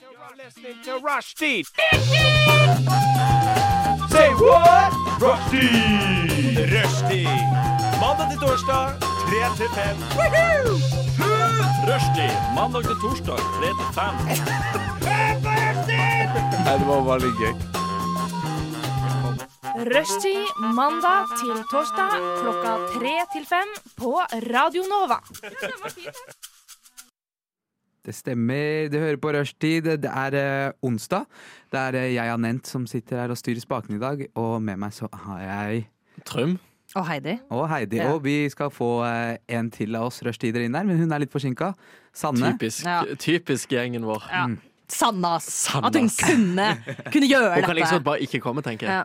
are listening to Rushdie. Say what? Rushdie. Rushdie. Mandag til torsdag, 3 til 5. Rushdie. Mandag til torsdag, 3 til 5. Rushtid mandag til torsdag klokka tre til fem på Radio Nova. Det stemmer. Du hører på Rushtid. Det er eh, onsdag. Det er eh, jeg, Anent, som sitter her og styrer spaken i dag. Og med meg så har jeg Trym. Og Heidi. og Heidi. Ja. Og vi skal få eh, en til av oss rushtider inn her, men hun er litt forsinka. Sanne. Typisk, Ja. typisk gjengen vår. Sanne, ass. Sanne, At hun ass. kunne, kunne gjøre Hun dette. kan liksom bare ikke komme, tenker jeg. Ja.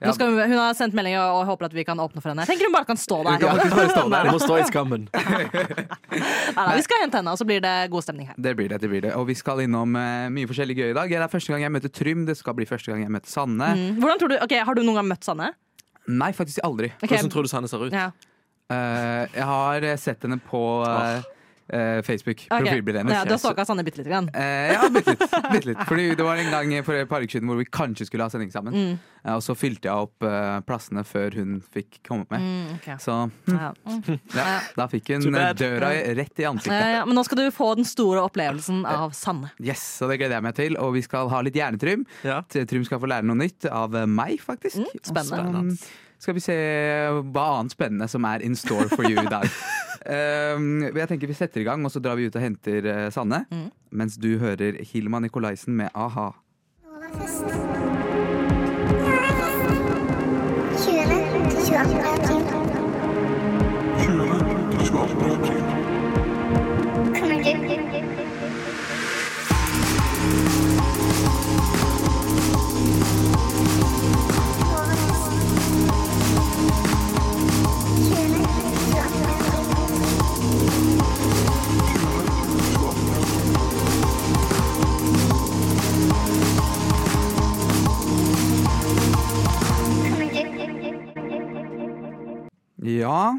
Nå skal hun, hun har sendt melding og, og håper at vi kan åpne for henne. Jeg tenker hun bare kan stå Hun der. kan ikke bare stå der. Hun må stå i skammen. Nei, nei, vi skal hente henne, og så blir det god stemning her. Det blir det, det blir det. Og vi skal innom eh, mye forskjellig gøy i dag. Det er første gang jeg møter Trym. Det skal bli første gang jeg møter Sanne. Mm. Hvordan tror du, ok, Har du noen gang møtt Sanne? Nei, faktisk aldri. Ok. Hvordan tror du Sanne ser ut? Ja. Eh, jeg har eh, sett henne på eh, eh, Facebook. Ok. Profilbildet hennes. Ja, du har stalka Sanne bitte lite grann? Eh, ja, bitte litt. Bitte litt. Fordi det var en gang for et par uker siden hvor vi kanskje skulle ha sending sammen. Mm. Eh, og så fylte jeg opp eh, plassene før hun fikk komme med. Mm, ok. Så Ja. Mm. ja, da fikk hun Too eh, bad. døra i- rett i Ja, ansiktet. ja, men nå skal du få den store opplevelsen av Sanne. Yes, så Det gleder jeg meg til. Og vi skal ha litt hjernetrym. Ja. T- Trym skal få lære noe nytt av eh, meg, faktisk. Og så, spennende. mm, skal vi se eh, hva annet spennende som er in store for you i dag. Um, jeg tenker Vi setter i gang, og så drar vi ut og henter eh, Sanne. Mm. Mens du hører Hilma Nikolaisen med a-ha. Kommer du? Ja,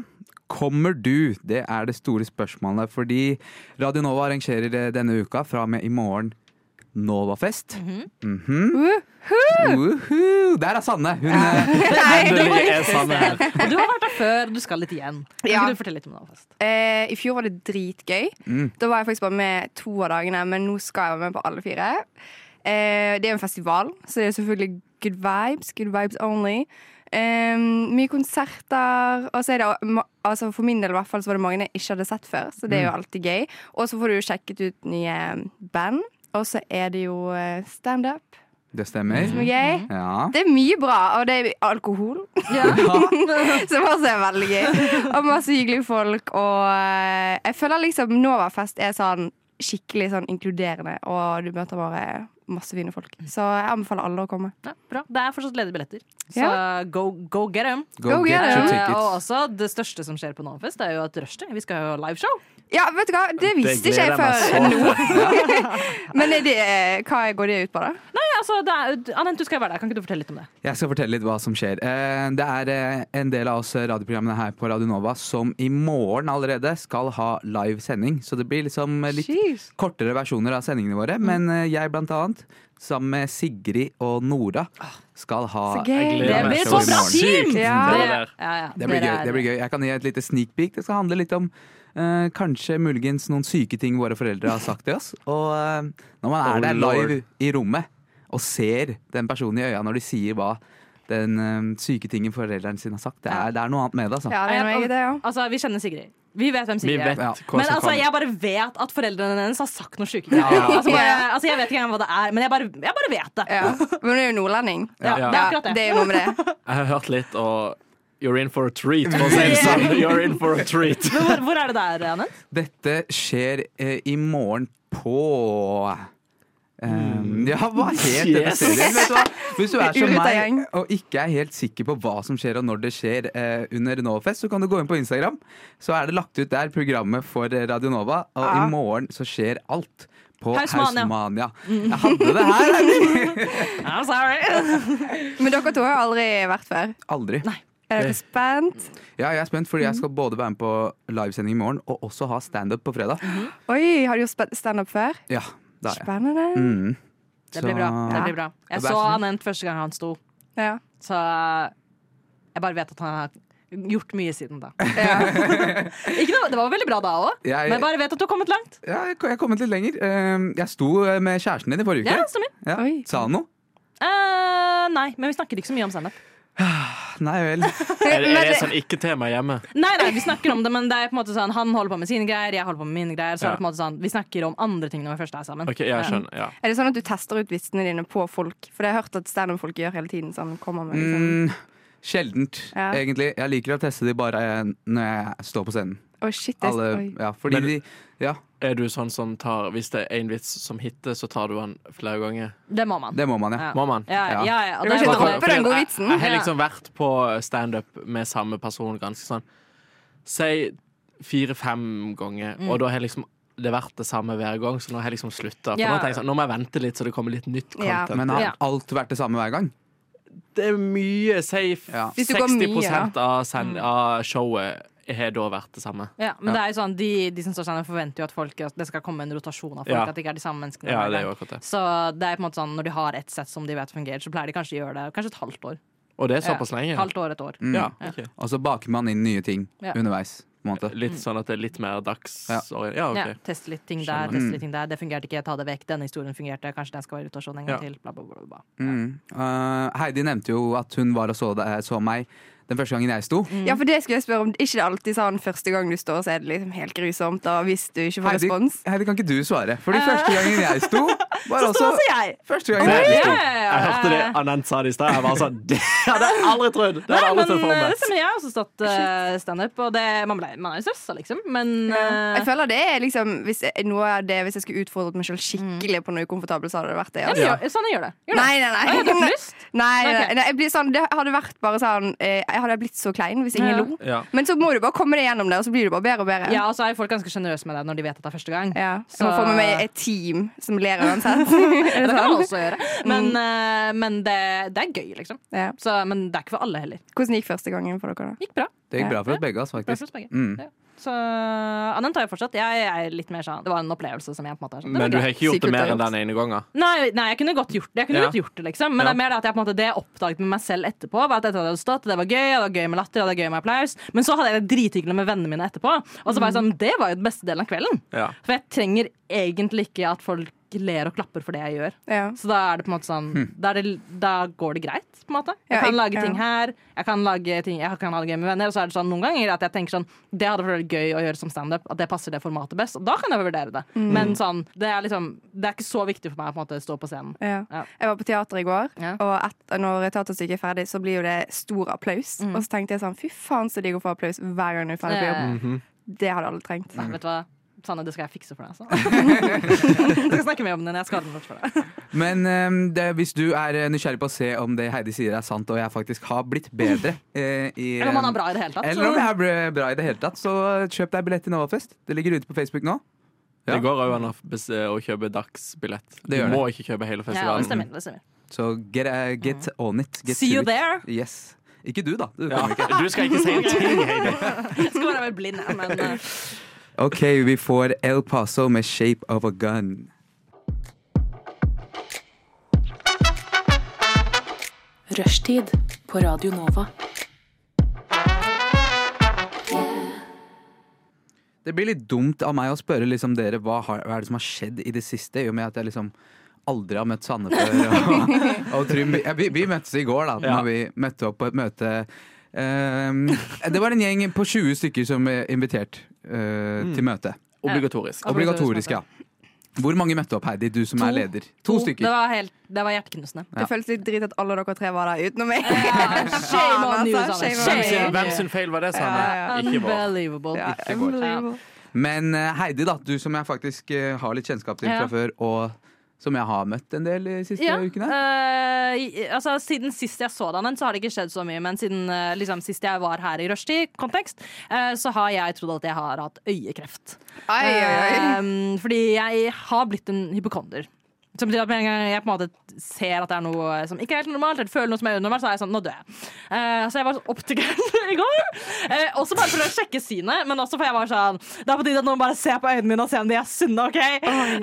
kommer du? Det er det store spørsmålet. Fordi Radio Nova arrangerer eh, denne uka fra og med i morgen Novafest. Mhm. Uhu. Der er Sanne! Hun, eh, Endelig er Sanne her. Og du har vært der før, og du skal litt igjen. Kan Ja. ikke du fortelle litt om det? Fest? Eh, I fjor var det dritgøy. Da var jeg faktisk bare med to av dagene, men nå skal jeg være med på alle fire. Eh, det er en festival, så det er selvfølgelig good vibes. Good vibes only. Eh, mye konserter. Og så er det, ma- altså for min del i hvert fall, så var det mange jeg ikke hadde sett før, så det er jo alltid gøy. Og så får du jo sjekket ut nye band. Og så er det jo eh, standup, det stemmer. som er gøy. Ja. Det er mye bra, og det er alkohol. Som også er veldig gøy. Og masse hyggelige folk. Og eh, jeg føler liksom Novafest er sånn skikkelig sånn inkluderende, og du møter bare masse fine folk. Så jeg anbefaler alle å komme. Ja, bra. Det er fortsatt ledige billetter, så Ja. go, go get them. Go get your it. tickets. Og også det største som skjer på Novafest, er jo at rushtid. Vi skal jo ha liveshow. Ja, vet du hva, det visste ikke jeg før nå. Men er det, eh, hva går det ut på, da? Nei, altså, det er, Anent, du skal jo være der. Kan ikke du fortelle litt om det? Jeg skal fortelle litt hva som skjer. Eh, Det er eh, en del av oss radioprogrammene her på Radio Nova som i morgen allerede skal ha live sending. Så det blir liksom litt kortere versjoner av sendingene våre. Men eh, jeg blant annet, sammen med Sigrid og Nora, skal ha Så gøy. gleder Det meg blir så så bra sykt. Ja. Det ja, der. ja, Det blir, Dere gøy, er- det blir gøy. Jeg kan gi et lite sneak peek. Det skal handle litt om eh, kanskje muligens noen syke ting våre foreldre har sagt til oss. Og eh, når man er Oh, der Lord. live i rommet og ser den personen i øya når de sier hva den eh, syke tingen foreldrene sine har sagt, det er, det er noe annet med det. Altså. Ja, det er noe eget, det, ja. Altså, vi kjenner Sigrid. Vi vet hvem Vi Sigrid vet er. Ja. hva som Men altså, kommer. jeg bare vet at foreldrene hennes har sagt noe sjuke greier. Altså, bare- altså, jeg vet ikke engang hva det er, men jeg bare, jeg bare vet det. ja. Men hun er jo nordlending. Ja, det er akkurat det. Det er jo noe med det. Jeg har hørt litt, og You're in for a treat, for å si det sånn. You're in for a treat. Men hvor, hvor er det der, Anent? Dette skjer eh, i morgen på eh, Mm. ja, hva het denne Yes. serien? Vet du hva? Hvis du er som Uruta meg gjeng. og ikke er helt sikker på hva som skjer og når det skjer eh, under Novafest, så kan du gå inn på Instagram. Så er det lagt ut der programmet for eh, Radio Nova, og i morgen så skjer alt. På Hausmania. Hausmania. Mm. Jeg hadde det her! Henning. I'm sorry. Men dere to har jo aldri vært før. Aldri. Er dere spent? Ja, jeg er spent, fordi Mm. jeg skal både være med på livesending i morgen og Mm. også ha standup på fredag. Oi, har du gjort spe- standup før? Ja, det er jeg. Spennende. Mm. Det blir bra. Så- Det blir bra. Jeg Det blir så sånn. Anent første gang han sto, Ja. så jeg bare vet at han har gjort mye siden da. Ikke noe, det var veldig bra da òg, Jeg- men jeg bare vet at du har kommet langt. Ja, jeg jeg har kommet litt lenger. Eh, Jeg sto eh, med kjæresten din i forrige Ja, uke. stemmer. Ja. Oi. Sa han noe? Eh, nei, men vi snakker ikke så mye om standup. Nei vel. Er, er det Men sånn ikke-tema hjemme? Nei, nei, vi snakker om det, men det er på en måte sånn han holder på med sine greier, jeg holder på med mine greier. Så Ja. er det på en måte sånn, vi snakker om andre ting når vi først er sammen. Ok, jeg skjønner. Ja. Er det sånn at du tester ut vitsene dine på folk? For det har jeg hørt at standup-folk gjør hele tiden. Sånn, kommer med liksom. Mm, sjeldent, Ja. egentlig. Jeg liker å teste de bare eh, når jeg står på scenen. Å, shit, det er Alle, oi. ja, fordi Men- de Ja, Er du sånn som tar Hvis det er en vits som hitter, så tar du den flere ganger? Det må man. det må man, ja. Ja. Må man? Ja, ja, ja, ja. Du Det kan er ikke bare- droppe den gode Jeg, vitsen. jeg har liksom vært på standup med samme person ganske sånn Si fire-fem ganger, Mm. og da har liksom det vært det samme hver gang, så nå har jeg liksom slutta. For Ja. nå, tenker jeg sånn, nå må jeg vente litt, så det kommer litt nytt Ja. content. Men har Ja. alt vært det samme hver gang? Det er mye. Si f- Ja. Hvis du går mye, Mm. 60 av, send, av showet har da vært det samme. Ja, men Ja. det er jo sånn, de, de som står sammen forventer jo at, folk, at det skal komme en rotasjon av folk. Ja. At det ikke er de samme menneskene. Ja, hver det er jo gang. akkurat det. Så det er på en måte sånn, når de har ett sett som de vet fungerer, så pleier de kanskje å gjøre det kanskje et halvt år. Og det er såpass lenge. Halvt år, et år. Ja, Mm. ok. Og så baker man inn nye ting Ja. underveis. På en måte. Litt sånn at det er litt mer dags... Ja. Ja, ok. Ja, teste litt ting Skjønner. der, teste litt ting der. Det fungerte ikke, ta det vekk. Denne historien fungerte, kanskje den skal være i rotasjon en gang Ja. til. Bla, bla, bla, bla. Mm. Eh, Heidi nevnte jo at hun var og så, deg- så meg den første gangen jeg sto. Ja, for det skulle jeg spørre om. Ikke det alltid sånn første gang du står, så er det liksom helt grusomt. Og hvis du ikke får Heidi, respons Eh. Heidi, kan ikke du svare? Fordi første gangen jeg sto, var også jeg! første gangen jeg sto. Jeg hørte det Anent sa det i stad. Jeg var sånn Det hadde jeg aldri trodd! Det hadde jeg Nei, aldri sett men, for eh, meg. men jeg har også stått eh, standup, og det, man, ble, man er jo stressa, liksom. Men eh, Jeg føler det er liksom hvis jeg, noe av det Hvis jeg skulle utfordret meg selv skikkelig på noe ukomfortabelt, så hadde det vært det. Mm. ja, Altså. men gjør- sånn jeg gjør det. Gjør det. Nei, nei, nei. Har du ikke lyst? Nei, nei, Ok. nei, jeg blir sånn, det hadde vært bare sånn eh, Jeg hadde blitt så klein hvis ingen Ja. lo. Ja. Men så må du bare komme deg gjennom det, og så blir du bare bedre og bedre. Ja, og så er jo folk ganske sjenerøse med deg når de vet at det er første gang. Ja. Jeg Så- må få med meg et team som ler uansett. Er Det det kan man sånn? også gjøre. Men, eh, men det, det er gøy, liksom. ja. Så, men det er ikke for alle heller. Hvordan gikk første gangen for dere, da? Gikk bra. Det gikk bra for oss begge. Altså, bra for faktisk. oss begge. Mm. Ja. Så Anent har jeg fortsatt. Jeg er litt mer sånn Det var en opplevelse som jeg på en måte er sånn. Det Men var du gøy. har ikke gjort det Secret mer enn Agent. den ene gangen? Nei, nei, jeg kunne godt gjort det, jeg kunne Ja. godt gjort det liksom. men Ja. det er mer det at jeg på en måte det jeg oppdaget med meg selv etterpå, var at etter at jeg hadde stått, det var gøy, og det var gøy med latter, og det var gøy med applaus, men så hadde jeg det drithyggelig med vennene mine etterpå. Og så var jeg sånn, Det var jo den beste delen av kvelden. Mm. Ja. For jeg trenger egentlig ikke at folk ler og klapper for det jeg gjør. Ja. Så da er det på en måte sånn Hm. da, er det, da går det greit, på en måte. Jeg Ja, kan jeg- lage ting ja. her, jeg kan, lage ting, jeg kan ha det gøy med venner. Og så er det sånn noen ganger at jeg tenker sånn Det hadde vært gøy å gjøre som standup, at det passer det formatet best. Og da kan jeg vurdere det. Men sånn, det er liksom Det er ikke så viktig for meg på en måte å stå på scenen. Ja. Ja. Jeg var på teater i går, Ja. og et, når teaterstykket er ferdig, så blir jo det stor applaus. Mm. Og så tenkte jeg sånn, fy faen så digg å få applaus hver gang du er ferdig på jobb. Eh, Det hadde alle trengt. Mm. Vet du hva? Sanne, det skal jeg fikse for deg. Altså. jeg skal snakke med om den. Jeg skal ha den bort for deg. Men eh, det, hvis du er eh, nysgjerrig på å se om det Heidi sier er sant, og jeg faktisk har blitt bedre eh, i, Eller om han er bra i det hele tatt. Eller om jeg er bra- bra i det hele tatt, så kjøp deg billett til Novafest. Det ligger ute på Facebook nå. Ja. Det går òg an å bes- eh, å kjøpe dagsbillett. Du Det gjør må ikke kjøpe hele ja, det festivalen. stemmer. Det stemmer. Så get, eh, get on it. Get See to you it. there! Yes. Ikke du, da. Du Ja. kommer ikke. Du skal ikke si en ting, Heidi. Jeg skal bare være blind, jeg, men eh, OK, vi får El Paso med 'Shape of a Gun'. Rushtid på Radio Nova. Det blir litt dumt av meg å spørre liksom, dere hva, har, hva er det som har skjedd i det siste, i og med at jeg liksom aldri har møtt Sanne før. Og, og Trym, ja, vi, vi møttes i går, da Ja. Når vi møtte opp på et møte. Ehm, det var en gjeng på 20 stykker som ble invitert eh, til møte. Obligatorisk. Obligatorisk Obligatorisk, ja. Hvor mange møtte opp, Heidi, du som er leder? To, stykker. Det var, helt, det var hjerteknusende. Det føltes litt drit at alle dere tre var der utenom meg. Shame on you, altså, Sanne. Hvem Eh, Shame shame on sin, on hvem you. sin feil var det, Sanne? Ikke vår. Unbelievable. Ja, Ikke vår. unbelievable. Men eh, Heidi, da, du som jeg faktisk eh, har litt kjennskap til Ja. fra før, og som jeg har møtt en del de siste Ja, ukene. eh, i- altså, siden sist jeg så den, så har det ikke skjedd så mye. Men siden eh, liksom, sist jeg var her i rushtid-kontekst, eh, så har jeg trodd at jeg har hatt øyekreft. Ai, ai, ai. Ehm, Eh, fordi jeg har blitt en hypokonder. Som betyr at med en gang jeg på en måte ser at det er noe som ikke er helt normalt, eller føler noe som er unormalt, så er jeg sånn Nå dør jeg. Eh, så jeg var hos optikeren i går. eh, også bare for å sjekke synet, men også for jeg var sånn Det er på tide at noen bare ser på øynene mine og ser om de er sunne, OK?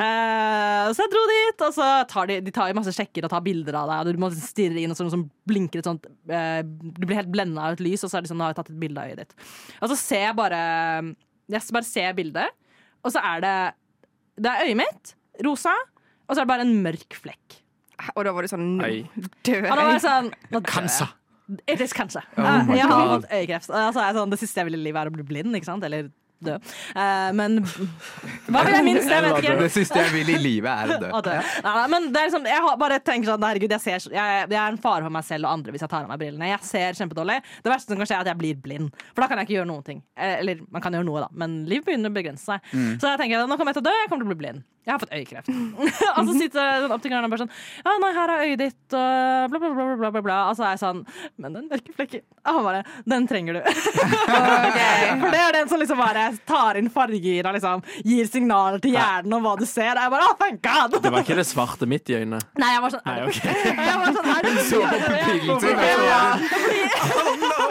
Eh, så jeg dro dit, og så tar de, de tar jo masse sjekker og tar bilder av deg, og du må stirre inn og sånn som blinker et sånt eh, Du blir helt blenda av et lys, og så er det sånn, nå har jeg tatt et bilde av øyet ditt. Og så ser jeg bare Jeg bare ser bildet, og så er det Det er øyet mitt, rosa, og så er det bare en mørk flekk. Og da var det sånn Ei. Nå dør Og da var jeg jeg. sånn nå dør jeg. Cancer. It is cancer. Oh my jeg har God. fått øyekreft. Og så er jeg sånn, det siste jeg vil i livet, er å bli blind. Ikke sant? Eller dø. Eh, men hva vil jeg minst? Jeg vet ikke. Det siste jeg vil i livet, er å dø. Å dø. Nei, nei, men det er liksom, jeg har, bare tenker sånn Herregud, jeg, ser, så- jeg, jeg er en fare for meg selv og andre hvis jeg tar av meg brillene. Jeg ser kjempedårlig. Det verste som kan skje, er at jeg blir blind. For da kan jeg ikke gjøre noen ting. Eh, Eller man kan gjøre noe, da, men livet begynner å begrense seg. Mm. Så jeg tenker nå kommer jeg til å dø, jeg kommer til å bli blind. Jeg har fått øyekreft. og så sitter den optikeren og bare sånn Ja, nei, her er øyet ditt, og bla, bla, bla, bla, bla, bla, bla. Og så er jeg sånn Men den mørke flekken Og han bare Den trenger du. For det er den som liksom bare tar inn farger og liksom gir signaler til hjernen om hva du ser. Og jeg bare, oh, thank God Det var ikke det svarte midt i øynene. Nei, jeg var sånn, Nei, er det ok. Jeg var sånn, er det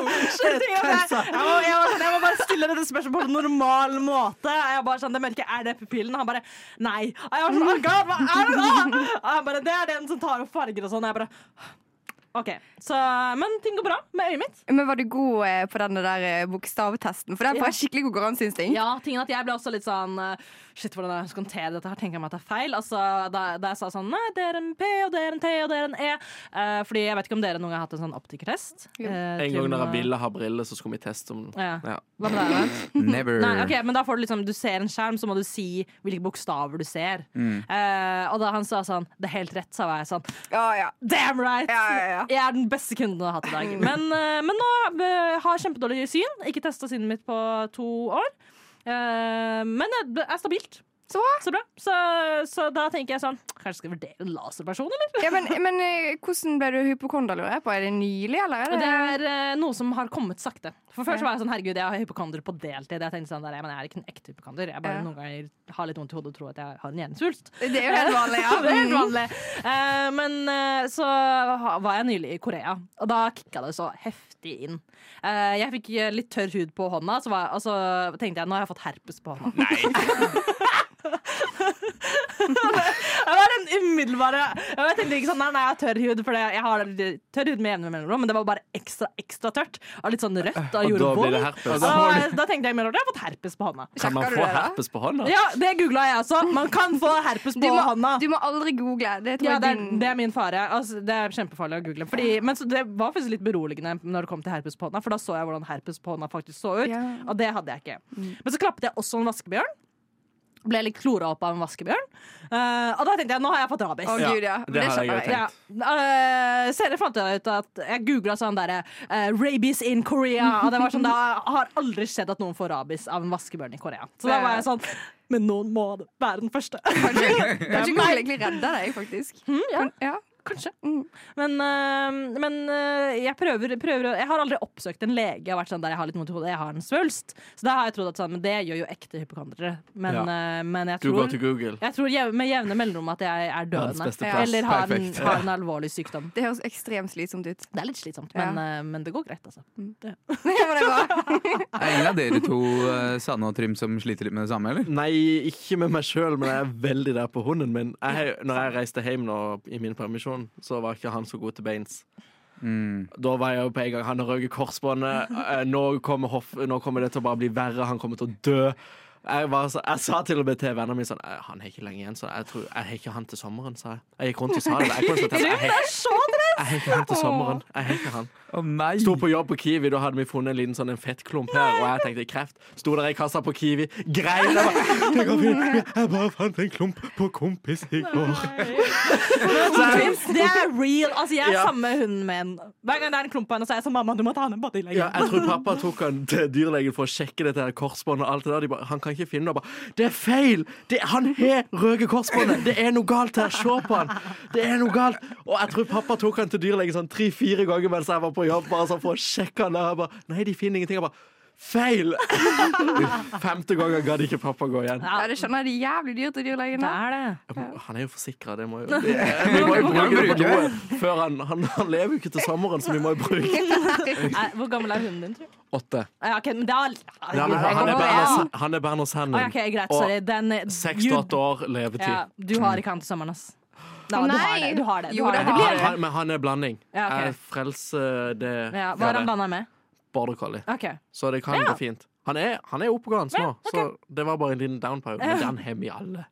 Jeg var, jeg, var sånn, jeg må bare stille dette spørsmålet på en normal måte. Jeg bare sånn, Det mørke, er det pupillen? Og han bare nei. Og jeg var sånn, oh God, hva er det da? Og han bare, det er den som tar opp farger og sånn. Og jeg bare OK. Så, men ting går bra med øyet mitt. Men var du god eh, på den der eh, bokstavtesten? For den sånn- Ja. var skikkelig konkurranseinstinkt. Ja, tingen at jeg ble også litt sånn eh, Shit, hvordan er det jeg skal håndtere dette her? Tenker jeg meg at det er feil? Altså, da, da jeg sa sånn Nei, det er en P, og det er en T, og det er en E. eh, fordi jeg vet ikke om dere noen gang har hatt en sånn optikertest. Jo. Eh, En gang Trym, når jeg eh, ville ha briller, så skulle vi teste om Ja. ja. Hva med deg, Vent? Never. Nei, ok, men da får du liksom Du ser en skjerm, så må du si hvilke bokstaver du ser. Mm. Eh, og da han sa sånn Det er helt rett, sa jeg sånn. Ja, ja. Damn right! Ja, ja, ja. Jeg er den beste kunden jeg har hatt i dag. Men, eh, men nå eh, har jeg kjempedårlig syn. Ikke testa synet mitt på to år. Eh, men det er stabilt. Så bra. Så bra. Så, så da tenker jeg sånn Kanskje skal jeg vurdere en laserperson, eller? Ja, men, men eh, hvordan ble du hypokonder, lurer jeg på? Er det nylig, eller? Er Og det, det er eh, noe som har kommet sakte. For Før Ja. så var jeg sånn herregud, jeg har hypokonder på deltid. Jeg tenkte sånn, der, men jeg er ikke en ekte hypokonder. Jeg bare Ja. noen ganger har litt vondt i hodet og tror at jeg har en hjernesvulst. det er jo helt vanlig, ja. det er helt vanlig. Eh, men eh, så ha- var jeg nylig i Korea, og da kicka det så heftig inn. Eh, jeg fikk eh, litt tørr hud på hånda, så var, og så tenkte jeg nå har jeg fått herpes på hånda. Det var den umiddelbare Jeg tenkte ikke sånn, nei, nei, jeg har tørr hud For det- jeg har litt tørr hud med jevne mellomrom Men det var bare ekstra, ekstra tørt Og litt sånn rødt og Eh, Og da gjorde blir det vondt. herpes. Da, var det- da tenkte jeg mer over det, jeg har fått herpes på hånda Kan man Sjekker du få det, da? herpes på hånda? Ja, det googlet jeg også Man kan få herpes på Du må, hånda du må aldri google. Det tror ja, jeg det er, din- det er min fare. Altså, det er kjempefarlig å google. Fordi, men så det var faktisk litt beroligende når det kom til herpes på hånda, for da så jeg hvordan herpes på hånda faktisk så ut. Ja. Mm. Og det hadde jeg ikke. Men så klappet jeg også en vaskebjørn. Ble litt klora opp av en vaskebjørn. Eh, og da tenkte jeg nå har jeg fått rabies. Å, gud, ja. det har jeg skjønner jo tenkt. Ja. Eh, senere fant jeg ut at jeg googla sånn derre eh, 'rabies in Korea'. Og det var sånn, da har aldri skjedd at noen får rabies av en vaskebjørn i Korea. Så da var jeg sånn Men noen må være den første. Kanskje Google egentlig redder deg, faktisk. Hmm, ja. Men- ja. Kanskje. Mm. Men, øh, men øh, jeg prøver, prøver å- Jeg har aldri oppsøkt en lege og vært sånn der jeg har litt vondt i hodet, jeg har en svulst. Så da har jeg trodd at sånn, men det gjør jo ekte hypokondere. Men, Ja. øh, men jeg Du går tror, til Google. jeg tror jev, med jevne mellomrom at jeg er Verdens dødende. beste Ja. plass. Eller har en, Perfekt. har en alvorlig sykdom. Det høres ekstremt slitsomt ut. Det er litt slitsomt, Ja. men, øh, men det går greit, altså. Men det er bra. Er ingen av dere to eh, Sanne og Trym som sliter litt med det samme, eller? Nei, ikke med meg sjøl, men jeg er veldig der på hunden min. Jeg, når jeg reiste hjem nå, i min permisjon, så var ikke han så god til beins. Da var jeg jo på en gang Han har røket korsbåndet. eh, Nå kommer, hoff, nå kommer det til å bare bli verre. Han kommer til å dø. Jeg, var, så, jeg sa til og med til vennene mine sånn «Eh, Han har ikke lenge igjen, så jeg, tror, jeg har ikke han til sommeren, sa jeg. Jeg gikk rundt og sa det. Jeg konstaterte jeg har- jeg har ikke han til sommeren. Jeg har ikke han. Å nei! Sto på jobb på Kiwi, da hadde vi funnet en liten sånn en fettklump her. Og jeg tenkte kreft. Sto der i kassa på Kiwi, grein. Jeg bare, det går fint. Jeg bare fant en klump på kompis i går. Det er real. Altså, jeg er Ja. samme hunden min. Hver gang det er en klump på henne, så er jeg sånn Mamma, du må ta henne på Ja, tilleggeren. jeg tror pappa tok han til dyrlegen for å sjekke dette her korsbåndet. og alt det der. De bare, han kan ikke finne det. Og bare, det er feil! Det, han har røket korsbåndet! Det er noe galt her! Se på han! Det er noe galt! Og jeg tror pappa tok han til dyrlegen sånn tre-fire ganger mens jeg var på jobb. bare sånn for å sjekke han der. Jeg bare, Nei, de finner ingenting. Jeg bare, Feil! Femte gangen gadd ikke pappa gå igjen. Ja, det skjønner jeg, det er jævlig dyrt i dyrlegen. Det da. er det. Jeg må- Han er jo forsikra, det må jo det- Vi må jo bruke det på noe før han Han, han lever jo ikke til sommeren, så vi må jo bruke Nei, Eh, hvor gammel er hunden din, tror du? Åtte. Ja, ok, men da Ja, men han, han er Berners- han er Berners Å, Ah, ja, Hennen. ok, greit, sorry. Den eh, Seks you- til åtte år levetid. Ja, du har ikke han til sommeren, ass. Da, du har Nei. det. Du har det. Du Jo, har det det. har det Han, blir, han, men han er blanding. Ja, ok. Jeg frelser det ja, hva fra er det. han blanda med? Border collie. Ok. Så det kan gå fint. Han er, han er oppegående nå, så det var bare en liten down-periode. Men den har vi alle.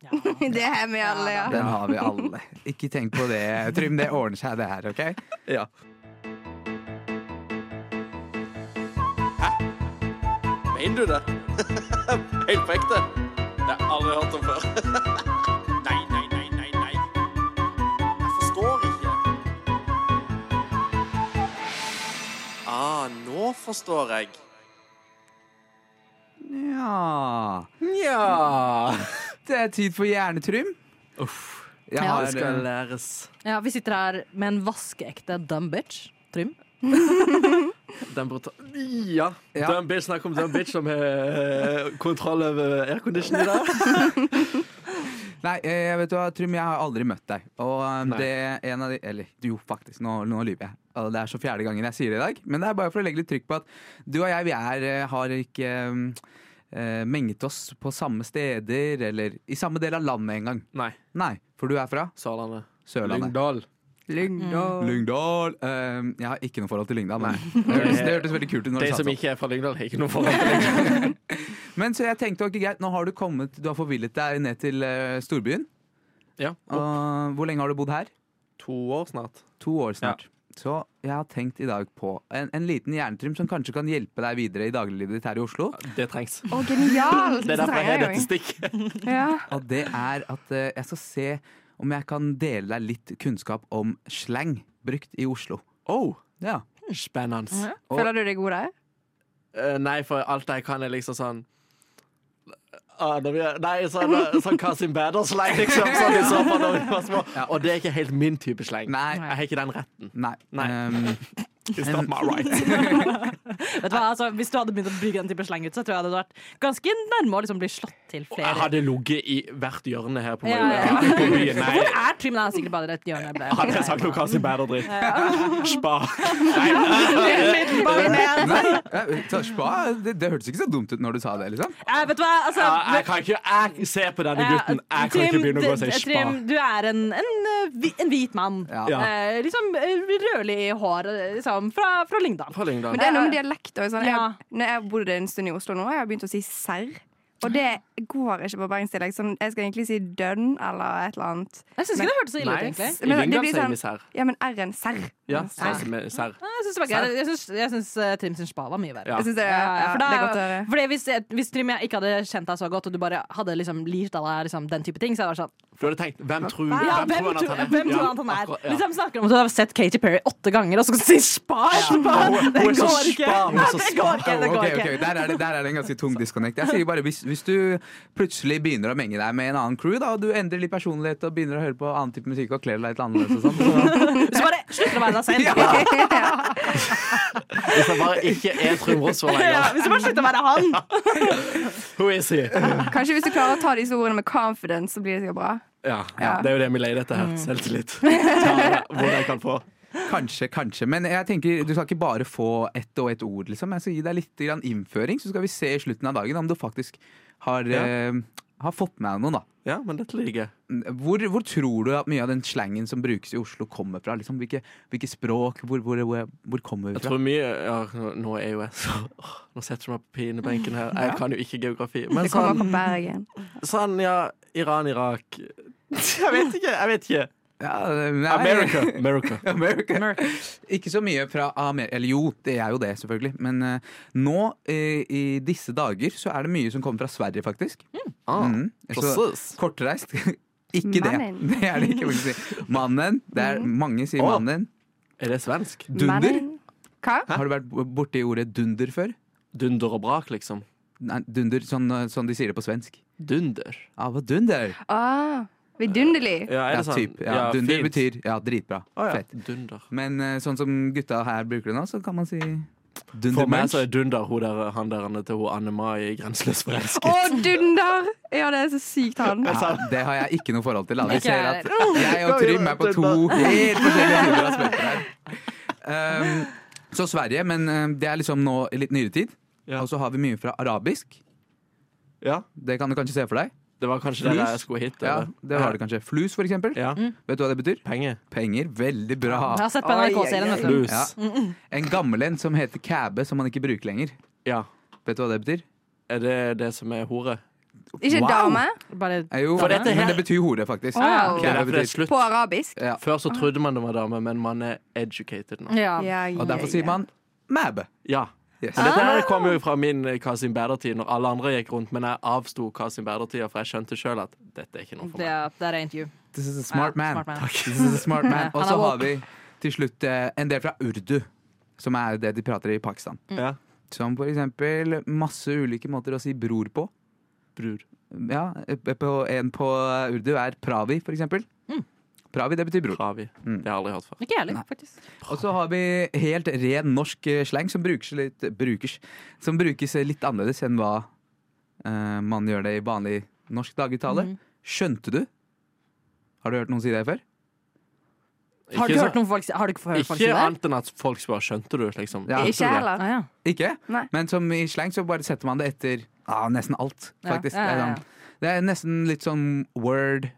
Det er vi alle, ja. Den har vi alle. Ikke tenk på det, Trym. Det ordner seg, det her. ok? Ja. Mener du det? Helt på ekte? Det har jeg aldri hørt om før. nei, nei, nei, nei, nei. Jeg forstår ikke. Ah, nå forstår jeg. Nja Nja Det er eh, tid for Hjernetrym. Uff. Jeg Ja, har, Det skal læres. Ja, vi sitter her med en vaskeekte dumb bitch. Trym. Den brutal... Ja. Ja. Dumb bitch. Snakk om dumb bitch som har eh, kontroll over aircondition i dag. Nei, eh, vet du hva, Trym, jeg har aldri møtt deg. Og eh, Nei. det er en av de Eller jo, faktisk, nå, nå lyver jeg. Og Det er så fjerde gangen jeg sier det i dag. Men det er bare for å legge litt trykk på at du og jeg, vi er, eh, har ikke eh, menget oss på samme steder eller i samme del av landet engang. Nei. Nei, for du er fra Sørlandet. Sørlandet. Mm. Lyngdal. Lyngdal. Lyngdal. Eh, jeg har ikke noe forhold til Lyngdal, men det hørtes, det hørtes veldig kult ut. når De du sa som sånn. ikke er fra Lyngdal, har ikke noe forhold til det. Men så jeg tenkte, ok greit, nå har du kommet, du har forvillet deg ned til eh, storbyen. Ja. Og hvor lenge har du bodd her? To år snart. To år snart. Så jeg har tenkt i dag på en, en liten hjernetrym som kanskje kan hjelpe deg videre i dagliglivet ditt her i Oslo. Det trengs. Å, genialt! Det er derfor jeg har trenger dette stikket. jo. Ja. Og det er at eh, jeg skal se om jeg kan dele deg litt kunnskap om slang brukt i Oslo. Oh, Ja. spennende. Og- Føler du deg god der? Eh, nei, for alt jeg kan, er liksom sånn Ah, når vi er, nei, sånn, eh, sånn Kasim Bader-sleng, liksom. Sånn i så fall, når vi var små. Og det er ikke helt min type sleng. Nei. Jeg har ikke den retten. Nei. Nei. Ehm, It's not my right. Vet du hva, altså, Hvis du hadde begynt å bygge den type sleng ut, så tror jeg det hadde vært ganske nærme å liksom bli slått til flere. Jeg hadde ligget i hvert hjørne her på, Ja, meg- ja. på byen. Nei, Hvor er Trym? Han er sikkert bare rett i hjørnet. ble- hadde jeg sagt noe Kasim Bader-dritt. Spa. Nei, ja, så spa, det, det hørtes ikke så dumt ut når du sa det, liksom. Eh, vet du hva, altså ah, jeg kan ikke jeg, Se på denne eh, gutten. Jeg kan ikke Trym, begynne å gå og si d- spa. Trym, du er en, en, eh, hvi- en hvit mann. Ja. Ja. Eh, liksom eh, rødlig i håret, liksom, fra, fra Lyngdal. Fra Lyngdal. Men det er noe med dialekt og sånn. Ja. Jeg, når jeg har bodd en stund i Oslo nå, jeg har begynt å si serr. Og det går ikke på bergensdialekt. Sånn, jeg skal egentlig si dønn eller et eller annet. Jeg syns ikke det hørtes så ille ut, I egentlig. Men det Lyngdal blir sier sånn- vi serr. Ja, men r-en serr. Ja, Serr. sånn som er serr. Nei, Jeg syns det var greit. Jeg synes- Jeg syns eh, Trym sin spa var mye verre. Ja. Jeg synes det, Ja, ja, ja, for det er da- godt å høre. Fordi hvis, hvis Trym jeg ikke hadde kjent deg så godt, og du bare hadde liksom lirt av deg liksom, den type ting, så hadde jeg vært sånn Du hadde tenkt Hvem tror Ja, hvem hvem tror han at tror han er? hvem tror han at han Ja, er? akkurat, ja. Liksom snakker om at du har sett Katy Perry åtte ganger, og så skal du si spa! spa. Det Hun er så går ikke! spa, hun er så Det spa. går ikke! Det Ok, går ok, ikke. Der, er det, der er det en ganske tung disconnect. Jeg sier bare, hvis, hvis du plutselig begynner å menge deg med en annen crew, da, og du endrer litt personlighet og begynner å høre på annen type musikk og kler deg litt annerledes og sånn, Så bare slutter å være deg selv. Ja. Hvis jeg bare ikke er Trym Rosvold Ja, lenger. hvis du bare slutter å være han. Who is he? Kanskje hvis du klarer å ta disse ordene med confidence, så blir det sikkert bra. Ja, Mm. Det er jo det vi leter etter her. Selvtillit. Hvor jeg kan få. så kanskje, kanskje. Men jeg tenker, du skal ikke bare få ett og ett ord, liksom. Jeg skal gi deg litt grann innføring, så skal vi se i slutten av dagen om du faktisk har, Ja. eh, har fått med deg noe, da. Ja, men dette liker jeg. Hvor, hvor tror du at mye av den slangen som brukes i Oslo, kommer fra? Liksom, hvilke, hvilke språk? Hvor, hvor, hvor, hvor kommer vi Jeg fra? tror mye ja, nå- Nå er jo jeg så åh, Nå setter du meg på pinebenken her. Jeg kan jo ikke geografi. Men Det kommer sånn, fra Bergen. sånn ja. Iran, Irak Jeg vet ikke. jeg vet ikke Mm. Ja, nei. America. America. America. Ikke så mye fra Amerika. Eller jo, det er jo det, selvfølgelig. Men eh, nå eh, i disse dager så er det mye som kommer fra Sverige, faktisk. Ah, Mm. Så precis. kortreist. ikke det. Mannen. Det er det ikke. vil jeg Si. Mannen. Det er, Mm. mange sier Å. mannen. Er det svensk? Dunder. Men- Hva? Har du vært borti ordet dunder før? Dunder og brak, liksom. Nei, dunder, sånn, eh, sånn de sier det på svensk. Dunder. Ja, hva dunder? Ah, vidunderlig. Ja, Ja, er det sånn? typ. Ja, dunder fint. betyr ja, dritbra. Å, ja. Fett. Dunder. Men eh, sånn som gutta her bruker det nå, så kan man si For meg Dundermunch. så er Dunder hun der, han der han er til hun Annema i Grenseløs Å, forelsket. dunder! Ja, det er så sykt han. Ja, det har jeg ikke noe forhold til. Da. Vi Ikke ser jeg at jeg og Trym er på to helt forskjellige sider av spekteret her. Um, så Sverige, men um, det er liksom nå i litt nyere tid. Ja. Og så har vi mye fra arabisk. Ja, det kan du kanskje se for deg. det var kanskje det Flus? jeg skulle hit. Ja, eller? det var det Mm. kanskje. Flus, for eksempel. Ja. Vet du hva det betyr? Penger. Penger. Veldig bra. Jeg har sett på NRK-serien. vet du. Flus. Ja. Mm. En gammel en som heter kæbe, som man ikke bruker lenger. Ja. Vet du hva det betyr? Er det det som er hore? Ikke Wow. dame. Bare Eh, Jo, For dette her- men det betyr hore, faktisk. Wow. Det er Kæbe derfor det er betyr slutt. På arabisk. ja. Før så trodde man det var dame, men man er educated nå. ja. Ja, Og derfor ja, sier ja. man mæbe. Ja. Yes. Dette her kom jo fra min eh, Kasim Berder-tid, når alle andre gikk rundt, men jeg avsto Kasim Berder-tida, for jeg skjønte sjøl at dette er ikke noe for Det meg. er, det er rent you. This is a smart Ja, man. smart man. Takk. This is a smart man. Og Han er så har woke. vi til slutt eh, en del fra urdu, som er det de prater i Pakistan. Mm. Ja. Som for eksempel masse ulike måter å si bror på. Bror. Ja, eh, på, en på urdu er pravi, for eksempel. Mm. Pravi, det betyr bror. Ravi. Mm. Det har jeg aldri hørt før. Ikke jeg heller, faktisk. Og så har vi helt ren norsk eh, slang som brukes litt, brukes, som brukes litt annerledes enn hva eh, man gjør det i vanlig norsk dagligtale. Mm. Skjønte du? Har du hørt noen si det før? Har du så- hørt noen folk si Har du ikke hørt folk si Ikke det? annet enn at folk spør skjønte du, liksom. Ja. Skjønte du Ikke det? heller. Ah, ja. Ikke? Nei. Men som i slang så bare setter man det etter ah, nesten alt, Ja, faktisk. ja, ja, Det, er ja. sånn, det er nesten litt sånn word,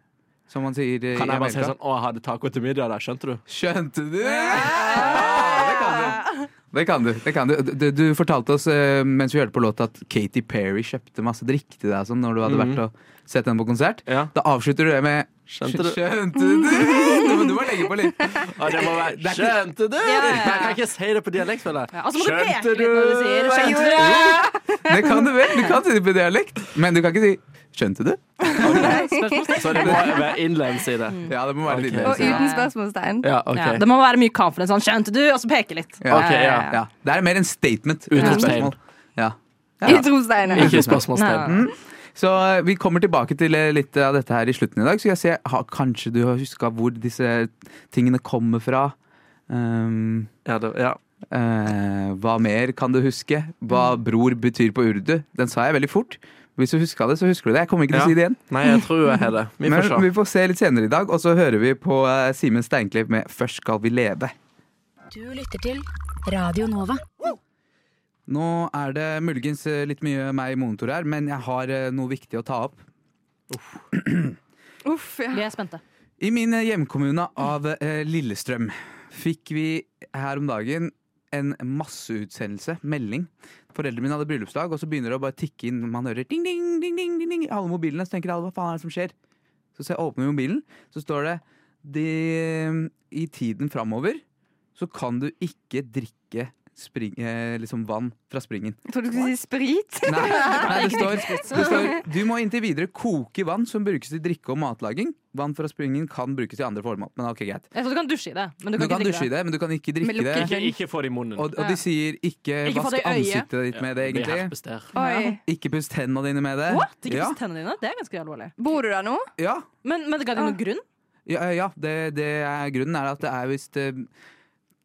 som man sier eh, Kan i jeg bare si Amerika. sånn Å, jeg hadde taco til middag der, skjønte du? Skjønte du? Ja, det kan du. Det kan du. det kan Du Du, du fortalte oss eh, mens vi hørte på låta at Katy Perry kjøpte masse drikke til deg og sånn, når du hadde Mhm. vært og sett henne på konsert. Ja. Da avslutter du det med Skjønte du? Skjønte du? Du må, du må legge på litt. Ja, det må være, Det er ikke- skjønte du? ja, ja. Jeg kan ikke si det på dialekt, føler jeg. Ja, altså må du peke Skjønte litt når du du? sier Hva skjønte gjorde du? Det kan du vel. Du kan si det på dialekt, men du kan ikke si 'skjønte du'? Så det må være innlevelse i det. Ja, det må være litt Ok. Og leser. uten spørsmålstegn. Ja, OK. Ja, det må være mye confidence. Sånn, skjønte du? Og så peke litt. Ja. Ok, ja. Ja, det er mer en statement. Utropstegn. Utropsspørsmål. Ja. Ja. Utropstegnet. Ikke spørsmålstegn. Nei. Så eh, vi kommer tilbake til eh, litt av dette her i slutten i dag. Så jeg ser, ha, kanskje du har huska hvor disse tingene kommer fra. Um, Ja, det, ja. eh, hva mer kan du huske? Hva Mm. bror betyr på urdu? Den sa jeg veldig fort. Hvis du huska det, så husker du det. Jeg kommer ikke til Ja. å si det igjen. Nei, jeg tror jeg har det. Vi Men får se. vi får se litt senere i dag. Og så hører vi på eh, Simen Steinklev med 'Først skal vi leve'. Du lytter til Radio Nova. Nå er det muligens eh, litt mye meg i monitor her, men jeg har eh, noe viktig å ta opp. Uff, ja. Vi er spente. I min eh, hjemkommune av eh, Lillestrøm fikk vi her om dagen en masseutsendelse, melding. Foreldrene mine hadde bryllupsdag, og så begynner det å bare tikke inn. Man hører ding, ding, ding, ding, ding, ding i alle mobilene. Så tenker alle, hva faen er det som skjer? Så ser jeg åpner mobilen, så står det de, I tiden framover så kan du ikke drikke spring, eh, liksom vann fra springen. Jeg trodde du skulle si sprit. Nei, nei det, står, det står Du må inntil videre koke vann som brukes til drikke og matlaging. Vann fra springen kan brukes til andre formål. Men ok, greit. Jeg tror du kan dusje i det, men du Du kan kan ikke dusje i drikke det. det, men du kan ikke Men drikke lukker Ikke, det. ikke få det i munnen. Og, og de sier ikke, Ikke få vask det i øyet. ansiktet ditt med det, egentlig. herpes der. Oi. Ikke pust hendene dine med det. What? Ikke ja, puss tennene dine? Det er ganske alvorlig. Bor du der nå? ja, Men, men ga det noen grunn? ja, ja det, det er grunnen er at det er visst eh,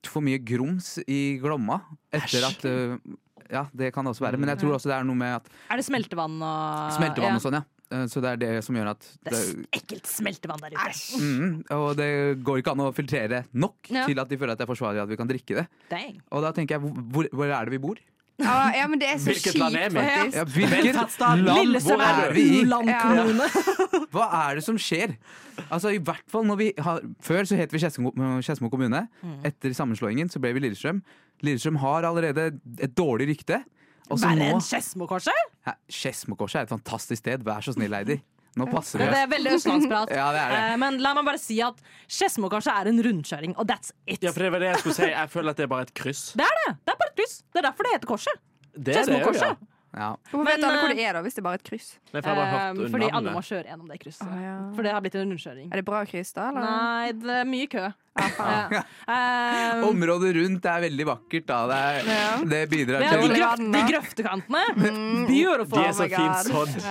for mye grums i Glomma etter at eh, Ja, det kan det også være. Men jeg tror også det er noe med at Er det Mm. smeltevann og smeltevann og sånn, ja. Eh, Så det er det som gjør at Det er s- ekkelt smeltevann der ute. Mm, og det går ikke an å filtrere nok Ja. til at de føler at det er forsvarlig at vi kan drikke det. Dang. Og da tenker jeg, hvor- hvor, hvor er det vi bor? Ja, ja men det er så Hvilket land er kjipt, vi? faktisk. Ja, hvilket land? Lillestrøm Hvor er er vi i? u-landkommune. Hva er det som skjer? Altså i hvert fall når vi har, Før så het vi Skedsmo Skedsmo kommune. Mm. Etter sammenslåingen så ble vi Lillestrøm. Lillestrøm har allerede et dårlig rykte. Og så Verre nå enn Skedsmokorset? Hæ, Skedsmokorset er et fantastisk sted, vær så snill, Heidi. Nå passer Det det. er veldig østlandsprat. Ja, det er det. Eh, Men la meg bare si at Skedsmokorset er en rundkjøring, og that's it. Ja, for det var det jeg skulle si. Jeg føler at det er bare et kryss. Det er det! Det er bare et kryss. Det er derfor det heter Korset. Det er det jo, ja. Skedsmokorset. Ja. Hvorfor vet Men, alle hvor eh, det er da, hvis det er bare et kryss? Nei, for jeg har bare hørt Eh, Fordi alle må navnet. kjøre gjennom det krysset. Å, ja. For det har blitt en rundkjøring. Er det bra kryss da, eller? Nei, det er mye kø. faen. Ja. Eh, Området rundt er veldig vakkert, da. Det, er, Ja. det bidrar det er til de, grøft, de grøftekantene. Beautiful. De er så my God. fint sådd.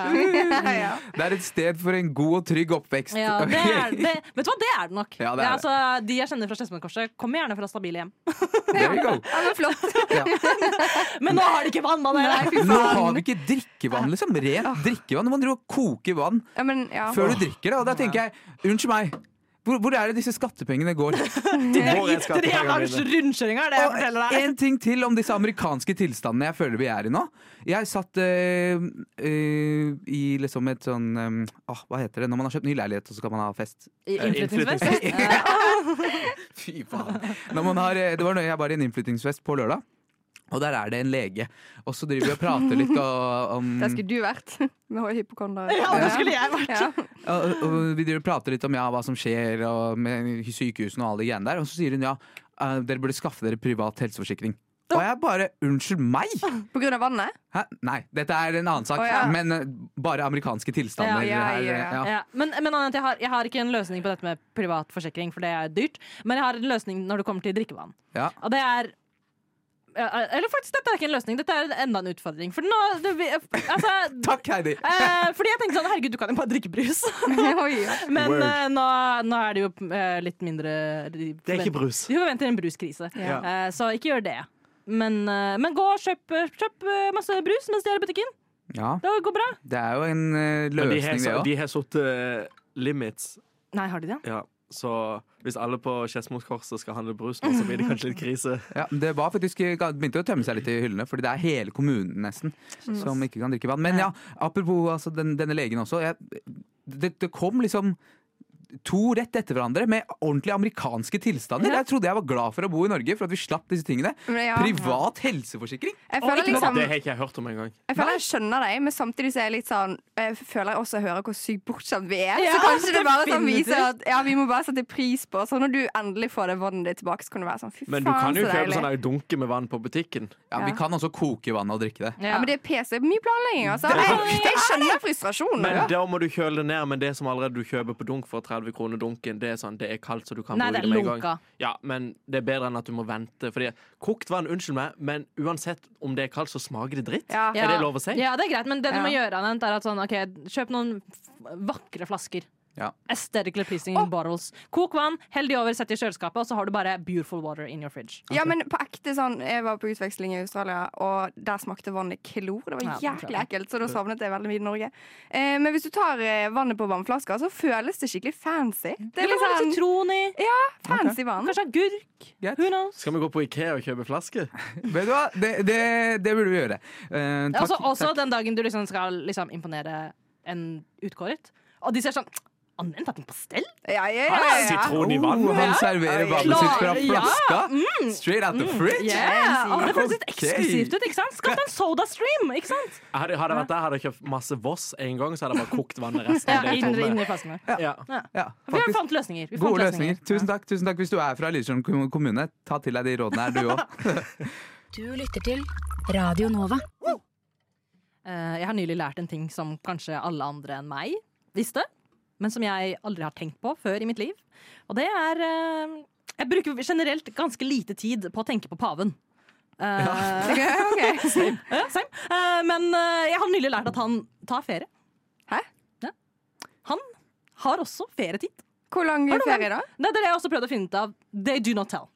Ja, ja. Det er et sted for en god og trygg oppvekst. Ja, det er, det, vet du hva, det er det nok. Ja, det er det. altså, de jeg kjenner fra Skedsmokorset, kommer gjerne fra stabile hjem. There we go. Ja, men flott. Ja. Men nå har de ikke vann! da, dere. Nå har vi ikke drikkevann, liksom. Ah. Rent drikkevann. Nå må dere jo koke vann Ja, men, ja. før du drikker det. Og da tenker jeg, unnskyld meg, hvor, hvor er det disse skattepengene går? Hvor er Tre dagers skattepengene mine? rundkjøringer, det jeg forteller Og eh, deg. en ting til om disse amerikanske tilstandene jeg føler vi er i nå. Jeg satt eh, eh, i liksom et sånn eh, ah, Hva heter det når man har kjøpt ny leilighet og så kan man ha fest? Eh, Innflyttingsfest. Fy faen. Når man har, eh, det var når jeg var i en innflyttingsfest på lørdag. Og der er det en lege. Og så driver vi og prater litt og, om Der skulle du vært. Med hypokonder. Ja, det skulle jeg vært. Ja. og, og Vi driver og prater litt om ja, hva som skjer og med sykehusene og alle de greiene der. Og så sier hun ja, eh, dere burde skaffe dere privat helseforsikring. Og jeg bare Unnskyld meg! På grunn av vannet? Hæ? Nei, dette er en annen sak. Å, ja. Men eh, bare amerikanske tilstander. Ja, ja, her, ja, eh, ja. Ja, men men annet, jeg, har, jeg har ikke en løsning på dette med privat forsikring, for det er dyrt. Men jeg har en løsning når det kommer til drikkevann. Ja. Og det er ja, Eller faktisk, dette er ikke en løsning. Dette er enda en utfordring. For nå det, vi- altså, Takk, Heidi! eh, Fordi jeg tenker sånn Herregud, du kan jo bare drikke brus. Oi, ja. Men Word. eh, nå, nå er det jo eh, litt mindre de Det er forventer- ikke brus. De forventer en bruskrise, Ja. Eh, så ikke gjør det. Men, eh, men gå og kjøp, eh, kjøp eh, masse brus mens de er i butikken. Ja, Det går bra. det er jo en eh, Men de løsning, det har- òg. de har satt eh, limits. Nei, har de det? Ja, så hvis alle på Skedsmokorset skal handle brus nå, så blir det kanskje litt krise. Ja, det var faktisk, det begynte å tømme seg litt i hyllene, fordi det er hele kommunen nesten som ikke kan drikke vann. Men ja, apropos altså, den, denne legen også. Jeg, det, det kom liksom to rett etter hverandre med ordentlig amerikanske tilstander. Jeg trodde jeg var glad for å bo i Norge, for at vi slapp disse tingene. Men ja. Privat helseforsikring! Jeg føler liksom Det har ikke jeg hørt om engang. Jeg føler jeg skjønner deg, men samtidig så er jeg litt sånn Jeg føler jeg også hører hvor sykt bortskjemt vi er. Ja, så kanskje det bare sånn definitivt. viser at ja, vi må bare sette pris på Så når du endelig får det vannet ditt tilbake, så kan du være sånn fy Men faen, du kan jo så kjøpe deilig. sånn dunke med vann på butikken. Ja, Vi Ja. kan også koke vann og drikke det. ja, men det er PC. Mye planlegging, altså. Jeg, jeg skjønner frustrasjonen. Men da må du kjøle det ned. Men det som allerede du kjøper på dunk for 30 kroner dunken, det er sånn, det er kaldt, så du kan Nei, bruke det det er med en lunka. gang. Ja, men det er bedre enn at du må vente. Fordi kokt vann, unnskyld meg, men uansett om det er kaldt, så smaker det dritt. Ja. Er det lov å si? Ja, det er greit, men det du må Ja. gjøre, Anent, er at sånn, ok, kjøp noen f- vakre flasker. Ja. Aesthetically pleasing bottles. Kok vann, hell de over, sett de i kjøleskapet, og så har du bare beautiful water in your fridge. Ja, men på ekte sånn Jeg var på utveksling i Australia, og der smakte vannet klor. Ja, Det var det tror jæklig jeg. ekkelt, så da savnet jeg veldig mye Norge. Eh, men hvis du tar eh, vannet på vannflasker, så føles det skikkelig fancy. Det Du er kan litt ha litt sånn Mm. sitron i, fancy vann. kanskje agurk. Greit. Who knows? Skal vi gå på Ikea og kjøpe flaske? Vet du hva, det, det, det burde vi gjøre. Eh, takk, Også, Altså, også takk. den dagen du liksom skal liksom, imponere en utkåret, og de ser sånn Anent har en pastell? Ja, ja, ja, ja, ja. Sitron i vann? Oh, han Ja. serverer vannet sitt fra Klar, ja. flaska! Straight out the fridge! Yeah. Og det føles litt Ok. eksklusivt ut. ikke sant? Skaff deg en soda stream! ikke sant? Hadde, hadde jeg vært der, hadde jeg kjøpt masse Voss en gang, så hadde jeg bare kokt vannet resten. Ja, av det inn, tomme. inn i flaskene. Ja. Ja, Vi faktisk. fant løsninger. Vi fant Gode løsninger. Tusen takk, tusen takk hvis du er fra Lillestrøm kom- kommune. Ta til deg de rådene her, du òg. Du lytter til Radio Nova. Eh, Jeg har nylig lært en ting som kanskje alle andre enn meg visste, men som jeg aldri har tenkt på før i mitt liv. Og det er eh, Jeg bruker generelt ganske lite tid på å tenke på paven. Eh, ja, same. Eh, men eh, jeg har nylig lært at han tar ferie. Hæ? Ja. Han har også ferietid. Hvor lang Har du ferie, da? Nei, Det er det jeg også prøvde å finne ut av. They do not tell.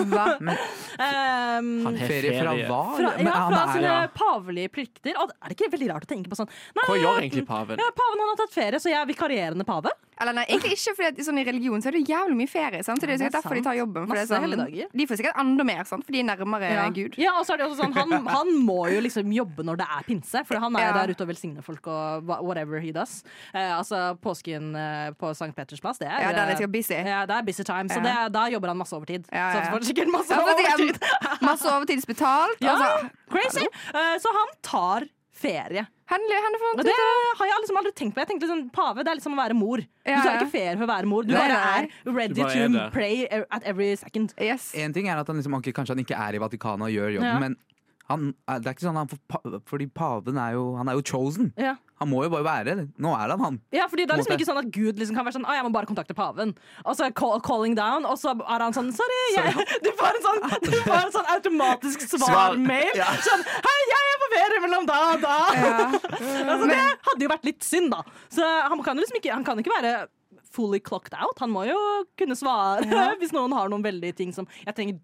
Hva? Um, Han har Ferie fra hva? fra, Men ja, han fra eh, er- sine ja. pavelige plikter. Og er det ikke veldig rart å tenke på sånn? Nei, Hva gjør egentlig paven? Ja, paven han har tatt ferie, så jeg er vikarierende pave. Eller nei, egentlig ikke, fordi at sånn I religion så er det jævlig mye ferie. Sant? Så det Ja, det er er sikkert derfor de tar jobben. For det er Masse helligdager. sånn, de får sikkert enda mer, sant? for de er nærmere Eh, Gud. Ja, og så er det også sånn han, han må jo liksom jobbe når det er pinse, for han er jo Ja. der ute og velsigner folk og wha- whatever he does. Eh, altså påsken eh, på St. Peters plass, det er Ja, der er det eh, sikkert busy. Ja, det er busy time, så Ja. det er, da jobber han masse overtid. Ja, Så ja. han får sikkert masse Ja, for de er overtid. Masse overtidsbetalt. Ja, Altså, crazy! Eh, så han tar ferie. henne, henne får Og det har jeg liksom aldri tenkt på. Jeg tenkte sånn, Pave det er liksom å være mor. Du Ja, tar ja. ikke ferie for å være mor. Du Nei, bare nei. er ready Du bare er to det. pray at every second. Yes. En ting er at han liksom, ok, kanskje han ikke er i Vatikanet og gjør jobben, eh, Ja. men han, er- det er ikke sånn han får pa- Fordi paven er jo, han er jo chosen. Ja. Han Han må jo bare være det. Nå er han han. Ja, fordi det er liksom Måte. ikke sånn at Gud liksom kan være sånn «Ah, jeg må bare kontakte paven. Og så er call, calling down, og så er han sånn Sorry, jeg Du får en sånn, du får en sånn automatisk svar-mail. Sånn Hei, jeg er på ferie mellom da og da. altså, det hadde jo vært litt synd, da. Så han kan jo liksom ikke, han kan ikke være fully clocked out. Han må jo kunne svare hvis noen har noen veldig ting som Jeg trenger,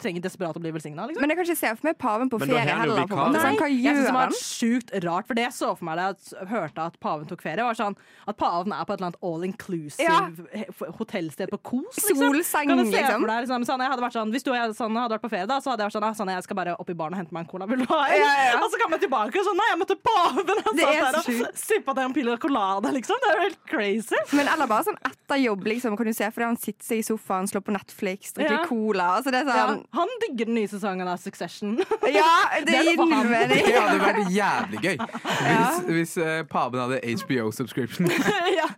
trenger desperat å bli velsigna, liksom. Men jeg kan ikke se for meg paven på Men da ferie er han jo heller. På vikar. en måte. Sånn, hva jeg synes gjør det var han? sjukt rart, for det jeg så for meg da jeg hørte at paven tok ferie, var sånn at paven er på et eller annet all inclusive Ja. hotellsted på Kos. Solseng, Kan du se liksom. for deg, liksom sånn, jeg hadde vært sånn, Hvis du og jeg sånn, hadde vært på ferie, da, så hadde jeg vært sånn, ah, sånn jeg skal bare opp i baren og hente meg en cola. Vil du ha en? Ja, ja, ja. Og så kommer jeg tilbake og sånn Nei, jeg møtte paven! Han Det er satt der så og sippa deg en pille colada, liksom. Det er jo helt crazy. Men eller bare sånn etter jobb, liksom. Kan du se for deg han sitter seg i sofaen, slår på Netflix, drikker Ja. cola. Altså, det er Ja. sånn Han digger den nye sesongen av Succession. Ja, det er gir for null han. mening. Det hadde vært jævlig gøy hvis, hvis eh, paven hadde HBO-subscription. ja.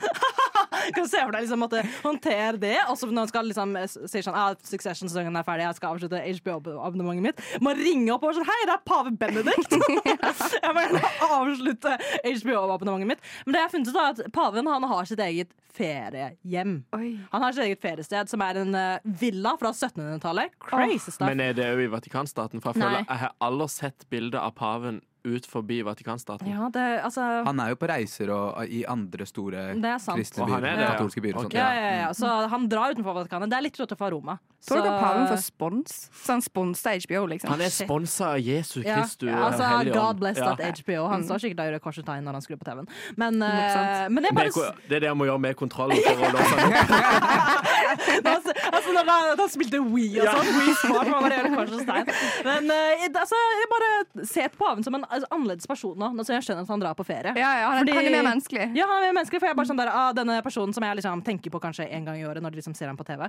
Kan se for deg liksom at håndtere det. Og så når han skal liksom eh, si sånn ah, Succession-sesongen er ferdig, jeg skal avslutte HBO-abonnementet mitt. Må ringe opp og sånn Hei, det er pave Benedikt! jeg må gjerne avslutte HBO-abonnementet mitt. Men det jeg har funnet ut, er at paven han har sitt eget feriehjem. Oi. Han har sitt eget feriested, som er en eh, villa fra 1700-tallet. Crazy stuff. Men er det òg i Vatikanstaten? For jeg, Nei. føler, jeg har aldri sett bilde av paven ut forbi Vatikanstaten. ja, det, altså, Han er jo på reiser og, og i andre store Det er sant. kristne Og han byer. er det, ja. Katolske byer og Ok. sånt. ja, ja, ja. Så han drar utenfor Vatikanet. Det er litt rått fra Roma. Tror dere Så- paven får spons? Så han sponser HBO, liksom? Han er Shit. sponsa av Jesus Ja, Kristus. og altså, Hellig Ånd. God bless Ja. that HBO. Mm. Han står sikkert og gjør korset tegn når han skrur på TV-en. Men, Nok eh, sant. men Det det er er, bare ko- det er det han må gjøre med kontrollen for å låse han opp. altså, altså, når han, at han spilte Wii og sånn. Wii Smart. Man bare gjør korset tegn. Men eh, det- altså, jeg bare se på paven som en altså, annerledes person nå. Altså, jeg skjønner at han drar på ferie. Ja, ja, han, er- Fordi- han er mer menneskelig. Ja, han er mer menneskelig, for jeg er bare sånn der, ah, denne personen som jeg liksom tenker på kanskje en gang i året når de liksom ser ham på TV.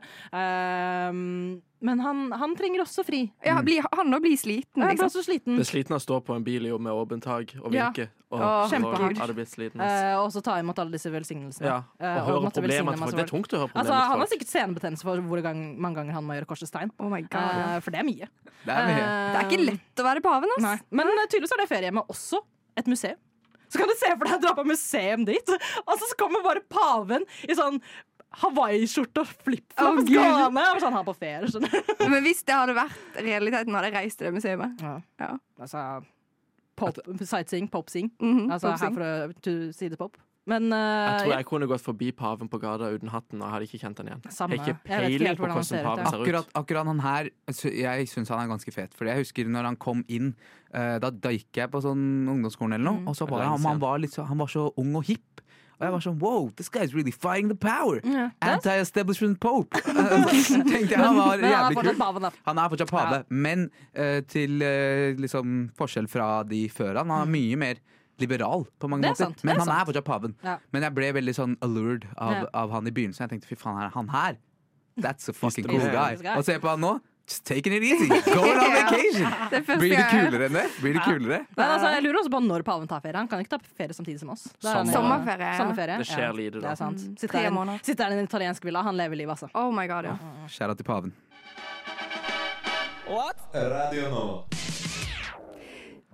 Ehm, men han, han trenger også fri. Ja, bli, han nå blir sliten, Jeg er bare liksom. så sliten. Det er sliten av å stå på en bil jo, med åpent tak og Ja. vinke. Og, Åh, kjempehardt. hadde blitt sliten. ass. Eh, og så ta imot alle disse velsignelsene. Ja, og Eh, og høre måtte velsigne problemene til masse folk. Det er folk. tungt å høre Altså, han problemene har til folk. sikkert senebetennelse for hvor gang, mange ganger han må gjøre korsets tegn. Oh my god. Eh, for det er mye. Det er mye. Det er ikke lett å være paven, ass. Nei. Men eh, tydeligvis er det feriehjemmet også et museum. Så kan du se for deg å dra på museum dit, og så kommer bare paven i sånn Hawaii-skjorte og Å, flipflops Gud. gående. Og sånn, han er på ferie, skjønner du. Men hvis det hadde vært realiteten, hadde jeg reist til det museet. Ja. Ja. Altså, pop, sightseeing, popsing. Mhm, Altså popsing. herfra to sidepop. Men eh, Jeg tror jeg kunne gått forbi paven på gata uten hatten, og jeg hadde ikke kjent han igjen. Samme. Jeg har Jeg ikke vet ikke helt peiling på hvordan han ser hvordan ut, paven ja. ser ut. Akkurat, akkurat han her, sy- jeg syns han er ganske fet. Fordi jeg husker når han kom inn, eh, da, da gikk jeg på sånn ungdomsskolen eller noe, og så var Det er lenge han, han, siden. var litt så, han var så ung og hipp. Og jeg var sånn wow, this guy is really fighting the power! Mm. Anti-establishment pope! Tenkte jeg, han var men han er jævlig fortsatt kul. paven, da. Han er fortsatt pave, men eh, til eh, liksom forskjell fra de før han, han er mye mer liberal på mange Mm. Det er måter. sant, det Men er han er fortsatt paven. Ja. Men jeg ble veldig sånn allured av, Ja. av han i begynnelsen. Jeg tenkte fy faen, er han her? That's a fucking the cool man. guy. He's the guy. Og se på han nå. Just taking it easy. Going on vacation. Det er første Blir det gang jeg- kulere enn det? Blir det kulere? Men altså, jeg lurer også på når paven tar ferie. Han kan ikke ta ferie samtidig som oss. Da er han jo- Sommerferie, ja. Sommerferie. Det skjer lite, da. Det er sant. Mm. Sitter Tre her i en- måneder. Sitter her i en italiensk villa. Han lever livet, altså. Oh my god, ja. Skjæra til paven. Radio Nova.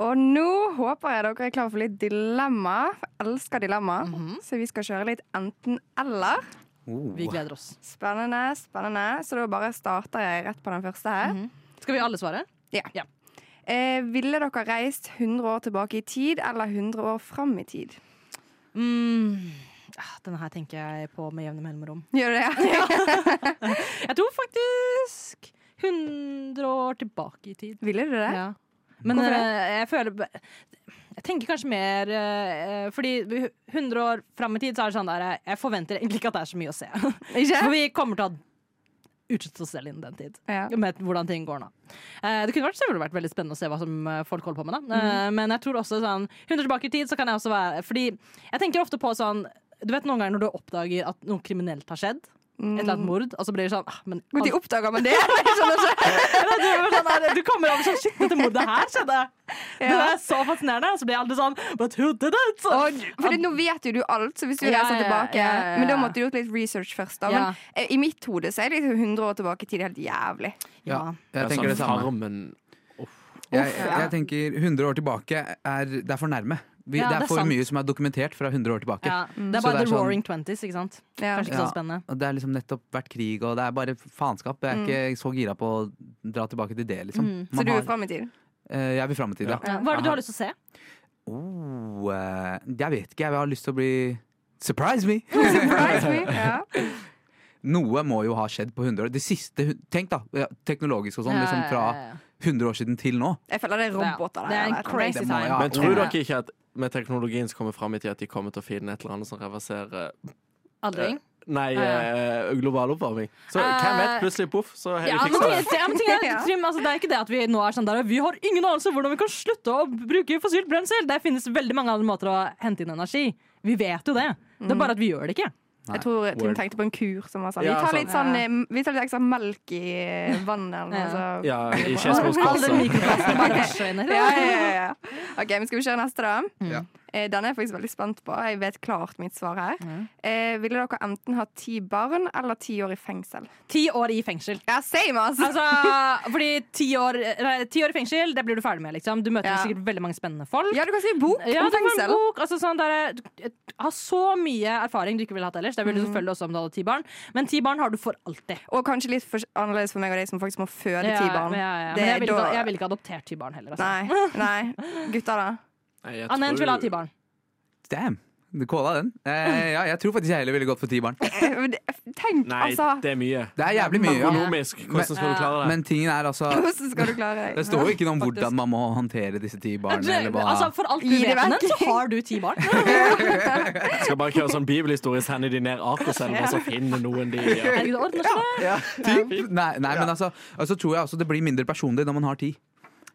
Og nå håper jeg dere er klar for litt dilemma. Jeg elsker dilemma. Så vi skal kjøre litt enten-eller. Oh. Vi gleder oss. Spennende, spennende. Så da bare starter jeg rett på den første her. Skal vi alle svare? eh, ville dere reist 100 år tilbake i tid eller 100 år fram i tid? Ah, Denne her tenker jeg på med jevne mellomrom. Gjør du det? Jeg tror faktisk 100 år tilbake i tid. Ville du det? Ja. Men Hvorfor det? eh, jeg føler Jeg tenker kanskje mer eh, Fordi 100 år fram i tid, så er det sånn der eh, Jeg forventer egentlig ikke at det er så mye å se. For Ikke? vi kommer til å utsette oss selv innen den tid. Ja. Med hvordan ting går nå. Eh, Det kunne vært, selvfølgelig vært veldig spennende å se hva som eh, folk holder på med. Da. Eh, Men jeg tror også sånn 100 tilbake i tid, så kan jeg også være Fordi jeg tenker ofte på sånn Du vet noen ganger når du oppdager at noe kriminelt har skjedd? Et eller annet mord, og så blir det sånn ah, men, Når de oppdager man det? Jeg skjønner ikke. Eller du, blir sånn, der, du kommer over sånn Shit, dette mordet her skjedde! Det Ja. er så fascinerende. Og så blir jeg alltid sånn But who did it? Og, fordi nå vet jo du alt, så hvis du Ja, reiser ja, ja, tilbake ja, ja, ja. Men da måtte du gjort litt research først. da Ja. Men eh, i mitt hode så er det liksom 100 år tilbake i tid helt jævlig. Ja, Ja. jeg sånn tenker det samme. Farmen Jeg, jeg ja. tenker 100 år tilbake er Det er for nærme. Vi, Ja, det er det er for sant. mye som er dokumentert fra 100 år tilbake. Ja. Det Så er bare det er the sånn- roaring twenties, ikke sant? Ja. Kanskje ikke Ja. så spennende. Og det er liksom nettopp vært krig, og det er bare faenskap. Jeg er ikke så gira på å dra tilbake til det, liksom. Mm. Så Man du har- er fram i tid? Eh, jeg vil fram i tid, ja. Ja. Hva er det du har lyst til å se? Oh, eh, jeg vet ikke, jeg har lyst til å bli Surprise me! Surprise me! Ja. Noe må jo ha skjedd på 100 år. Det siste, hun- tenk da, ja, teknologisk og sånn, liksom fra 100 år siden til nå. Jeg føler det er roboter der. Eh, Det er en eller? crazy Det må time. jeg ha. Men tror Ja. dere ikke at med teknologien som kommer fram i tid, at de kommer til å finne et eller annet som reverserer Aldring? Nei, Ja. eh, global oppvarming. Så Eh, hvem vet? Plutselig poff, så har Ja, de fiksa men ting, det. er- ja, men ting er, Ja. Trym, altså, det er ikke det at vi nå er sånn der Vi har ingen anelse om hvordan vi kan slutte å bruke fossilt brensel. Det finnes veldig mange andre måter å hente inn energi. Vi vet jo det. Det er bare at vi gjør det ikke. Jeg tror Trym Word. tenkte på en kur som var sånn. Ja, vi tar sant. litt sånn eh, Vi tar litt ekstra melk i eh, vannet eller noe. Ja. så- Ja, i altså. Skedsmos All den klasse. mikroplasten bare forsvinner. Ja, ja, ja, ja. OK, men skal vi kjøre neste, da? Ja. Eh, Den er jeg faktisk veldig spent på. Jeg vet klart mitt svar her. Eh, ville dere enten ha ti barn eller ti år i fengsel? Ti år i fengsel. Ja, same, altså! Altså, fordi ti år, nei, ti år i fengsel, det blir du ferdig med. Liksom. Du møter Ja. sikkert veldig mange spennende folk. Ja, du kan skrive bok Ja, om det var en fengsel. bok. Altså, sånn der, du har så mye erfaring du ikke ville hatt ellers. Det ville Mm. du selvfølgelig også om du hadde ti barn, men ti barn har du for alltid. Og kanskje litt for, annerledes for meg og deg som faktisk må føde Ja, ti barn. Ja, ja. Men Det er jeg ville ikke, da- jeg vil ikke adoptert ti barn heller. Altså. Ah, Nei, nei. Gutta, da? Nei, jeg Anne, hun tror- ville ha ti barn. Damn! Du kåla den. Eh, ja, jeg tror faktisk jeg heller ville gått for ti barn. Det Eh, men det- Tenk, Nei, altså! det er mye. er jævlig mye, ja. Økonomisk, hvordan eh, skal du klare det? Men tingen er altså Hvordan skal du klare deg? Det står jo ikke noe om Faktisk. hvordan man må håndtere disse ti barna. Eller hva. Altså, for alt du Gi det vet, Anne, vekk. så har du ti barn. Skal bare kjøre sånn bibelhistorie, sende de ned Akerselva, og så finne noen de ja. Herregud, det ordner seg. Typ. Nei, nei men altså, altså tror jeg også det blir mindre personlig når man har ti.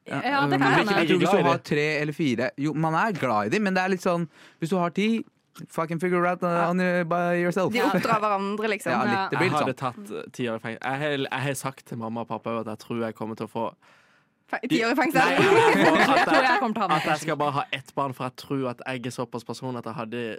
Ja, det Um, kan Hvilken Jeg hende. tror hvis glad i du har det. tre eller fire Jo, man er glad i dem, men det er litt sånn Hvis du har ti, fucking figure it out uh, on your, by yourself. De oppdrar hverandre, liksom. Ja, litt, det blir Jeg hadde litt sånn. tatt eh, ti år i fengsel. Jeg, har- jeg har sagt til mamma og pappa at jeg tror jeg kommer til å få Fe- Ti år i fengsel? Nei, jeg får at Jeg tror jeg jeg, kommer til å ha at med jeg skal bare ha ett barn, for jeg tror at jeg er såpass person at jeg hadde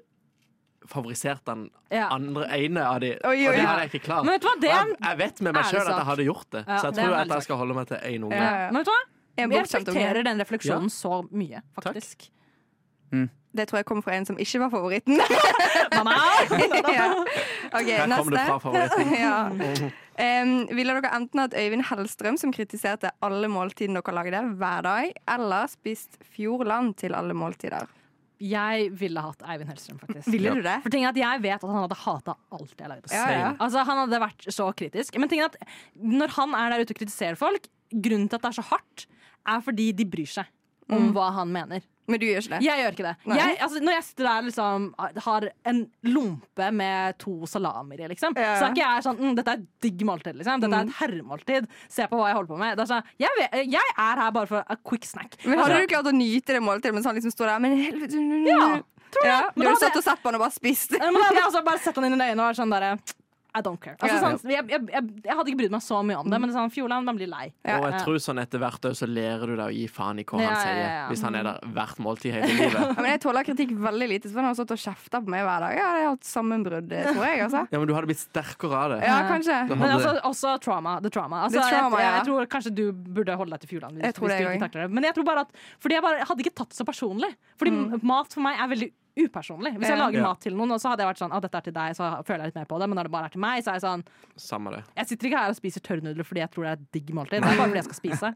favorisert den Ja. andre ene av de. Oi, Og oi. det hadde jeg ikke klart. Men vet du hva, det er jeg, en- jeg vet med meg ærlig sjøl at sak. jeg hadde gjort det, Ja, så jeg det er en tror ærlig at jeg sak. skal holde meg til én unge. Ja. Men vet du hva? En Jeg bortskjemt unge. reflekterer den refleksjonen så mye, faktisk. Det tror jeg kom fra en som ikke var favoritten. Mamma! ja. Ok, Her kom det neste. fra favoritten. ja. Em, ville dere enten hatt Øyvind Hellstrøm, som kritiserte alle måltidene dere lagde hver dag, eller spist Fjordland til alle måltider? Jeg ville hatt Eivind Hellstrøm, faktisk. Ville du det? For ting er at Jeg vet at han hadde hata alt jeg lagde. Ja, ja. Altså, han hadde vært så kritisk. Men ting er at når han er der ute og kritiserer folk, grunnen til at det er så hardt, er fordi de bryr seg Mm. om hva han mener. Men du gjør ikke det? Jeg gjør ikke det. Nei. Jeg, altså, når jeg sitter der liksom har en lompe med to salamier, i, liksom, Ja. Mm. så er ikke jeg sånn mm, 'Dette er et digg måltid'. Liksom. Dette er et herremåltid. Se på hva jeg holder på med. Det er sånn, jeg, vet, jeg er her bare for a quick snack. Men Altså, Hadde du klart å nyte det måltidet mens han liksom står der? Men helvete Ja, tror jeg. Men Du da hadde hadde satt og sett på han og bare spist. Nei, men da hadde jeg altså bare sett han inn i øynene og vært sånn derre I don't care. Altså, Ja. Mm. sånn, jeg, jeg, jeg, jeg hadde ikke brydd meg så mye om det, men det er sånn, Fjordland, man blir lei. Og jeg tror sånn etter hvert også, så lærer du deg å gi faen i hva Ja, han ja, sier, ja, ja. hvis han er der hvert måltid hele livet. Ja, men jeg tåler kritikk veldig lite, så han har stått og kjefta på meg hver dag. Jeg hadde hatt sammenbrudd, tror jeg. altså. Ja, men du hadde blitt sterkere av det. Ja, kanskje. Men altså, også trauma. The trauma. Altså, The trauma, jeg, jeg, ja. jeg tror kanskje du burde holde deg til Fjordland. Hvis, Jeg tror hvis du det, jeg ikke takler det. Men jeg tror bare at Fordi jeg bare hadde ikke tatt det så personlig. Fordi mat for meg er veldig upersonlig. Hvis jeg Mm. Ja. lager Ja. mat til noen, og så hadde jeg vært sånn ah, dette er til deg, så føler jeg litt mer på det. Men når det bare er til meg, så er jeg sånn Samme det. Jeg sitter ikke her og spiser tørrnudler fordi jeg tror det er et digg måltid. Det er bare fordi jeg skal spise.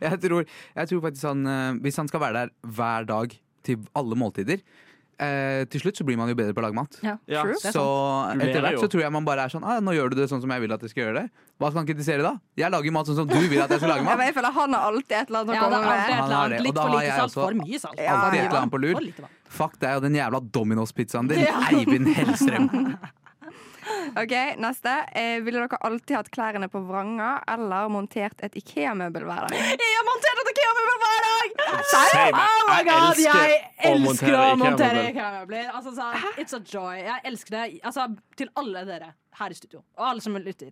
Jeg tror, jeg tror faktisk han eh, Hvis han skal være der hver dag til alle måltider eh, Til slutt så blir man jo bedre på å lage mat. Ja. Ja. True. Så Du etter lærer hvert jo. så tror jeg man bare er sånn ah, Nå gjør du det sånn som jeg vil at jeg skal gjøre det. Hva skal han kritisere da? Jeg lager mat sånn som du vil at jeg skal lage Ja, men mat. jeg føler han har alltid et eller annet å Ja, det komme er alltid med. et Han eller har det, annet. og Litt da for har lite jeg salt, også for mye salt. alltid et eller annet på lur. For lite vann. Fuck deg og den jævla Domino's-pizzaen din. Eivind Hellstrøm. Ok, neste. Eh, ville dere alltid hatt klærne på vranga eller montert et IKEA-møbel hver dag? Jeg har montert et IKEA-møbel hver dag! Same. Oh my god, elsker jeg å elsker å montere montere IKEA-møbler. IKEA-møbler. Altså, sånn, it's a joy. Jeg elsker det altså, til alle dere her i studio, og alle som lytter.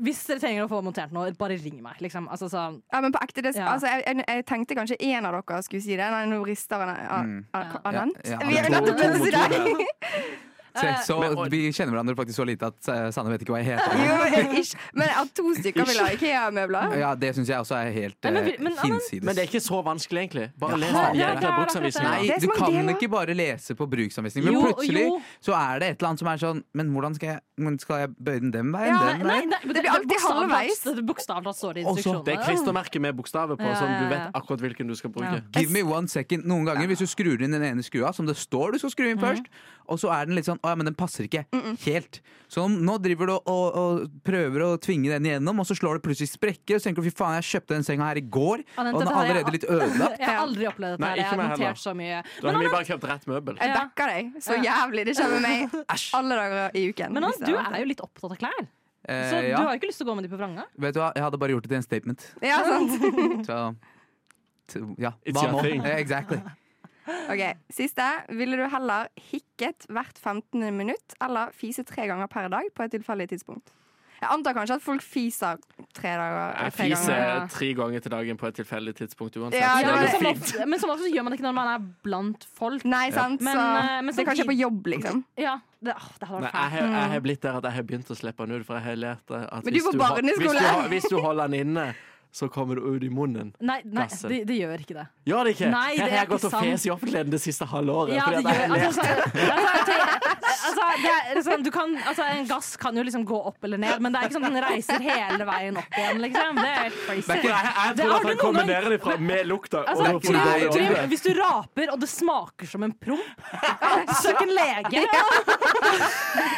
Hvis dere trenger å få montert noe, bare ring meg. Liksom. Altså, sånn, Ja, men på ekte, det, Ja. altså, jeg, jeg, jeg tenkte kanskje en av dere skulle si det. Nei, nå rister han Mm. Anant. Ja, ja, Vi er han- nødt til å to- to si det. Se, så, vi kjenner hverandre faktisk så lite at eh, Sanne vet ikke hva jeg heter. Jo, men, ikke, men at to stykker vil ha IKEA-møbler? Ja, det syns jeg også er helt Nei, men vi- eh, men, Anand- hinsides. Men det er ikke så vanskelig, egentlig. Bare les Jaha. den jævla Ja, ja, bruksanvisningen. Nei, Det er så du mange kan deler. ikke bare lese på bruksanvisning. Men Jo, plutselig jo. så er det et eller annet som er sånn Men hvordan skal jeg, men skal jeg bøye den den veien? Ja, den veien? men Det blir alltid bokstavelig- halvveis. Det er bokstavelig står det i Også, instruksjonene. Det er klistremerke med bokstaver på, Ja, sånn du ja, ja. vet akkurat hvilken du skal bruke. Give me one second. Noen ganger hvis du skrur inn den ene skrua, som det står du skal skru inn først, og så er den litt sånn Å ja, men den passer ikke helt. Så nå driver du og, og, og prøver å tvinge den igjennom, og så slår det plutselig sprekker, og så tenker du fy faen, jeg kjøpte den senga her i går, Anette, og den er dette har jeg- allerede litt ødelagt. Jeg har aldri opplevd dette. Nei, her. jeg ikke meg har heller. notert så mye. Da har vi bare kjøpt rett møbel. Jeg Ja. backer deg så jævlig. Det skjer med meg alle dager i uken. Men Anand, hvis du jeg er venter. jo litt opptatt av klær. Eh, Så du ja. har jo ikke lyst til å gå med de på vranga. Vet du hva, jeg hadde bare gjort det til en statement. Ja, sant. Så t- ja, It's hva your nå? thing. Eh, Exactly. Ok, Siste. Ville du heller hikket hvert 15. minutt eller fise tre ganger per dag på et tilfeldig tidspunkt? Jeg antar kanskje at folk fiser tre dager. Jeg tre fiser ganger. tre ganger til dagen på et tilfeldig tidspunkt uansett. Ja, så men, det det var går som fint. ofte, men som ofte så gjør man det ikke når man er blant folk. Nei, sant? Men, så eh, men det kan skje samtidig- på jobb, liksom. Ja, det, åh, det hadde Nei, vært jeg, fælt. har- jeg har blitt der at jeg har begynt å slippe den ut, for jeg har lært det at Men du hvis på hol- barneskole. hvis, du, hol- hvis du holder den inne, så kommer du ut i munnen. Nei, nei Lasse. det, det gjør ikke det. Gjør det ikke? Nei, det Her har er jeg gått ikke og fes sant. i offentligheten det siste halve året. Ja, det fordi at jeg gjør har lært altså, altså, altså, det er sånn, du kan, altså, En gass kan jo liksom gå opp eller ned, men det er ikke sånn at den reiser hele veien opp igjen. Liksom. Det er helt crazy. Jeg, jeg tror Det har at du han noen kombinerer det fra med lukta Altså, og Trym, det i Trym, ånden. hvis du raper og det smaker som en promp, oppsøk en lege!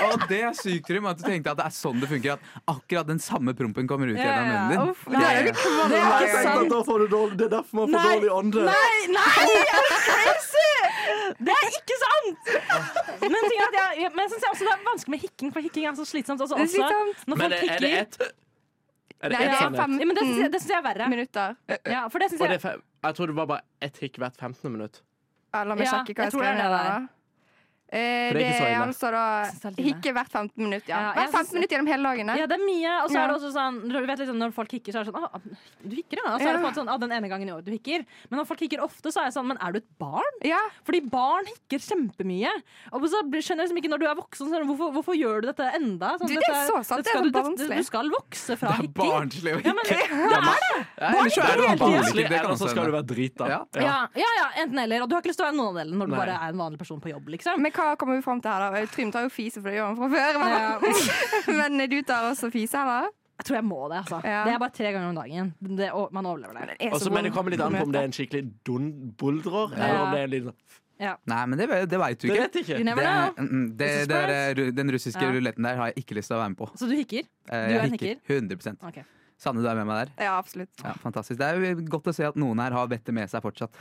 Og det er sykt, Trym, at du tenkte at det er sånn det funker. At akkurat den samme prompen kommer ut Ja, gjennom ja, munnen din. uff, det er jo Det- Det er ikke Men sant. Da får du dårlig, det er derfor man får Nei. dårlig ånde. Nei, nei, det er crazy! Det er ikke sant! Men, ting er at jeg, men jeg synes også det er vanskelig med hikking, for hikking er så slitsomt. Altså, Det er også, slitsomt. Når Men folk er det hikker ett Er det Nei, ett det er sannhet? fem- ja, men Det synes jeg- det syns jeg er verre. Minutter. Ja, for det synes Og det er jeg fem- Jeg tror det var bare ett hikk hvert 15. minutt. Ja, La meg Ja, sjekke hva jeg jeg tror skrev det er ned det der. der. da. Eh, For det er det ikke så er ille. Jeg synes det er altså da litt ille. Hikke hvert 15 minutt, ja. Ja, jeg Hvert synes- 15 minutt gjennom hele dagen. ja, ja. det er mye. Og så er det Ja. også sånn du vet liksom, Når folk hikker, så er det sånn «Å, Du hikker, ja. Og så er det på en måte sånn, «Å, den ene gangen i året du hikker. Men når folk hikker ofte, så er jeg sånn Men er du et barn? Ja, Fordi barn hikker kjempemye. Og så blir- skjønner jeg liksom ikke når du er voksen, så er det, hvorfor, hvorfor gjør du dette enda? Sånn, Du, det dette, er så sant, det er skal så du- dette- barnslig. Du skal vokse fra Det er hikking. barnslig å Ja, ikke men, det er det! Ellers så er du hele tiden. alkoholiker. Eller Det kan så også skal du hende. være drita. Ja. Ja, ja, ja, enten eller. Og du har ikke lyst til å være noen av delene når du Nei. bare er en vanlig person på jobb. liksom Men hva kommer vi fram til her, da? Trym tar jo fise, for det gjør han fra før. Ja. Men, men du tar også fise, eller? Jeg tror jeg må det. altså Ja. Det er bare tre ganger om dagen. Det, og man overlever det. er så Og så- men det kommer litt an på om det er en skikkelig dun buldrer, eller om det er en liten Nei, men det, det veit du Det ikke. vet jeg You ikke. Det, never know. mm, det, It's det a der, ru- den russiske Ja. ruletten der har jeg ikke lyst til å være med på. Så du hikker? Eh, Du jeg er en hikker. 100 Ok. Sanne, du er med meg der? Ja, absolutt. Ja, fantastisk. Det er jo godt å se at noen her har vettet med seg fortsatt.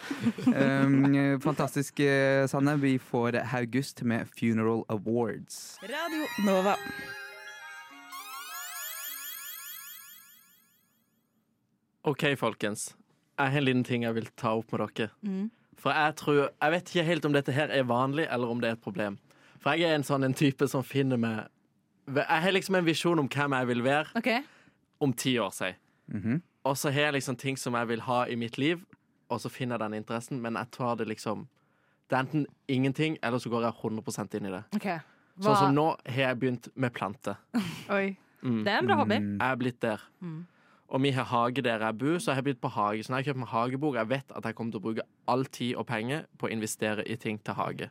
Um, eh, fantastisk, eh, Sanne. Vi får Haugust med Funeral Awards. Radio Nova. OK, folkens. Jeg har en liten ting jeg vil ta opp med dere. Mm. For jeg tror Jeg vet ikke helt om dette her er vanlig, eller om det er et problem. For jeg er en sånn en type som finner meg Jeg har liksom en visjon om hvem jeg vil være Ok om ti år, si. Mhm. Og så har jeg liksom ting som jeg vil ha i mitt liv, og så finner jeg den interessen, men jeg tar det liksom Det er enten ingenting, eller så går jeg 100 inn i det. Ok. Hva? Sånn som nå har jeg begynt med planter. Oi. Det er en bra hobby. Jeg er blitt der. Mm. Og vi har hage der jeg bor, så jeg har begynt på hage. Så når jeg kjøper meg hagebok, jeg vet at jeg kommer til å bruke all tid og penger på å investere i ting til hage.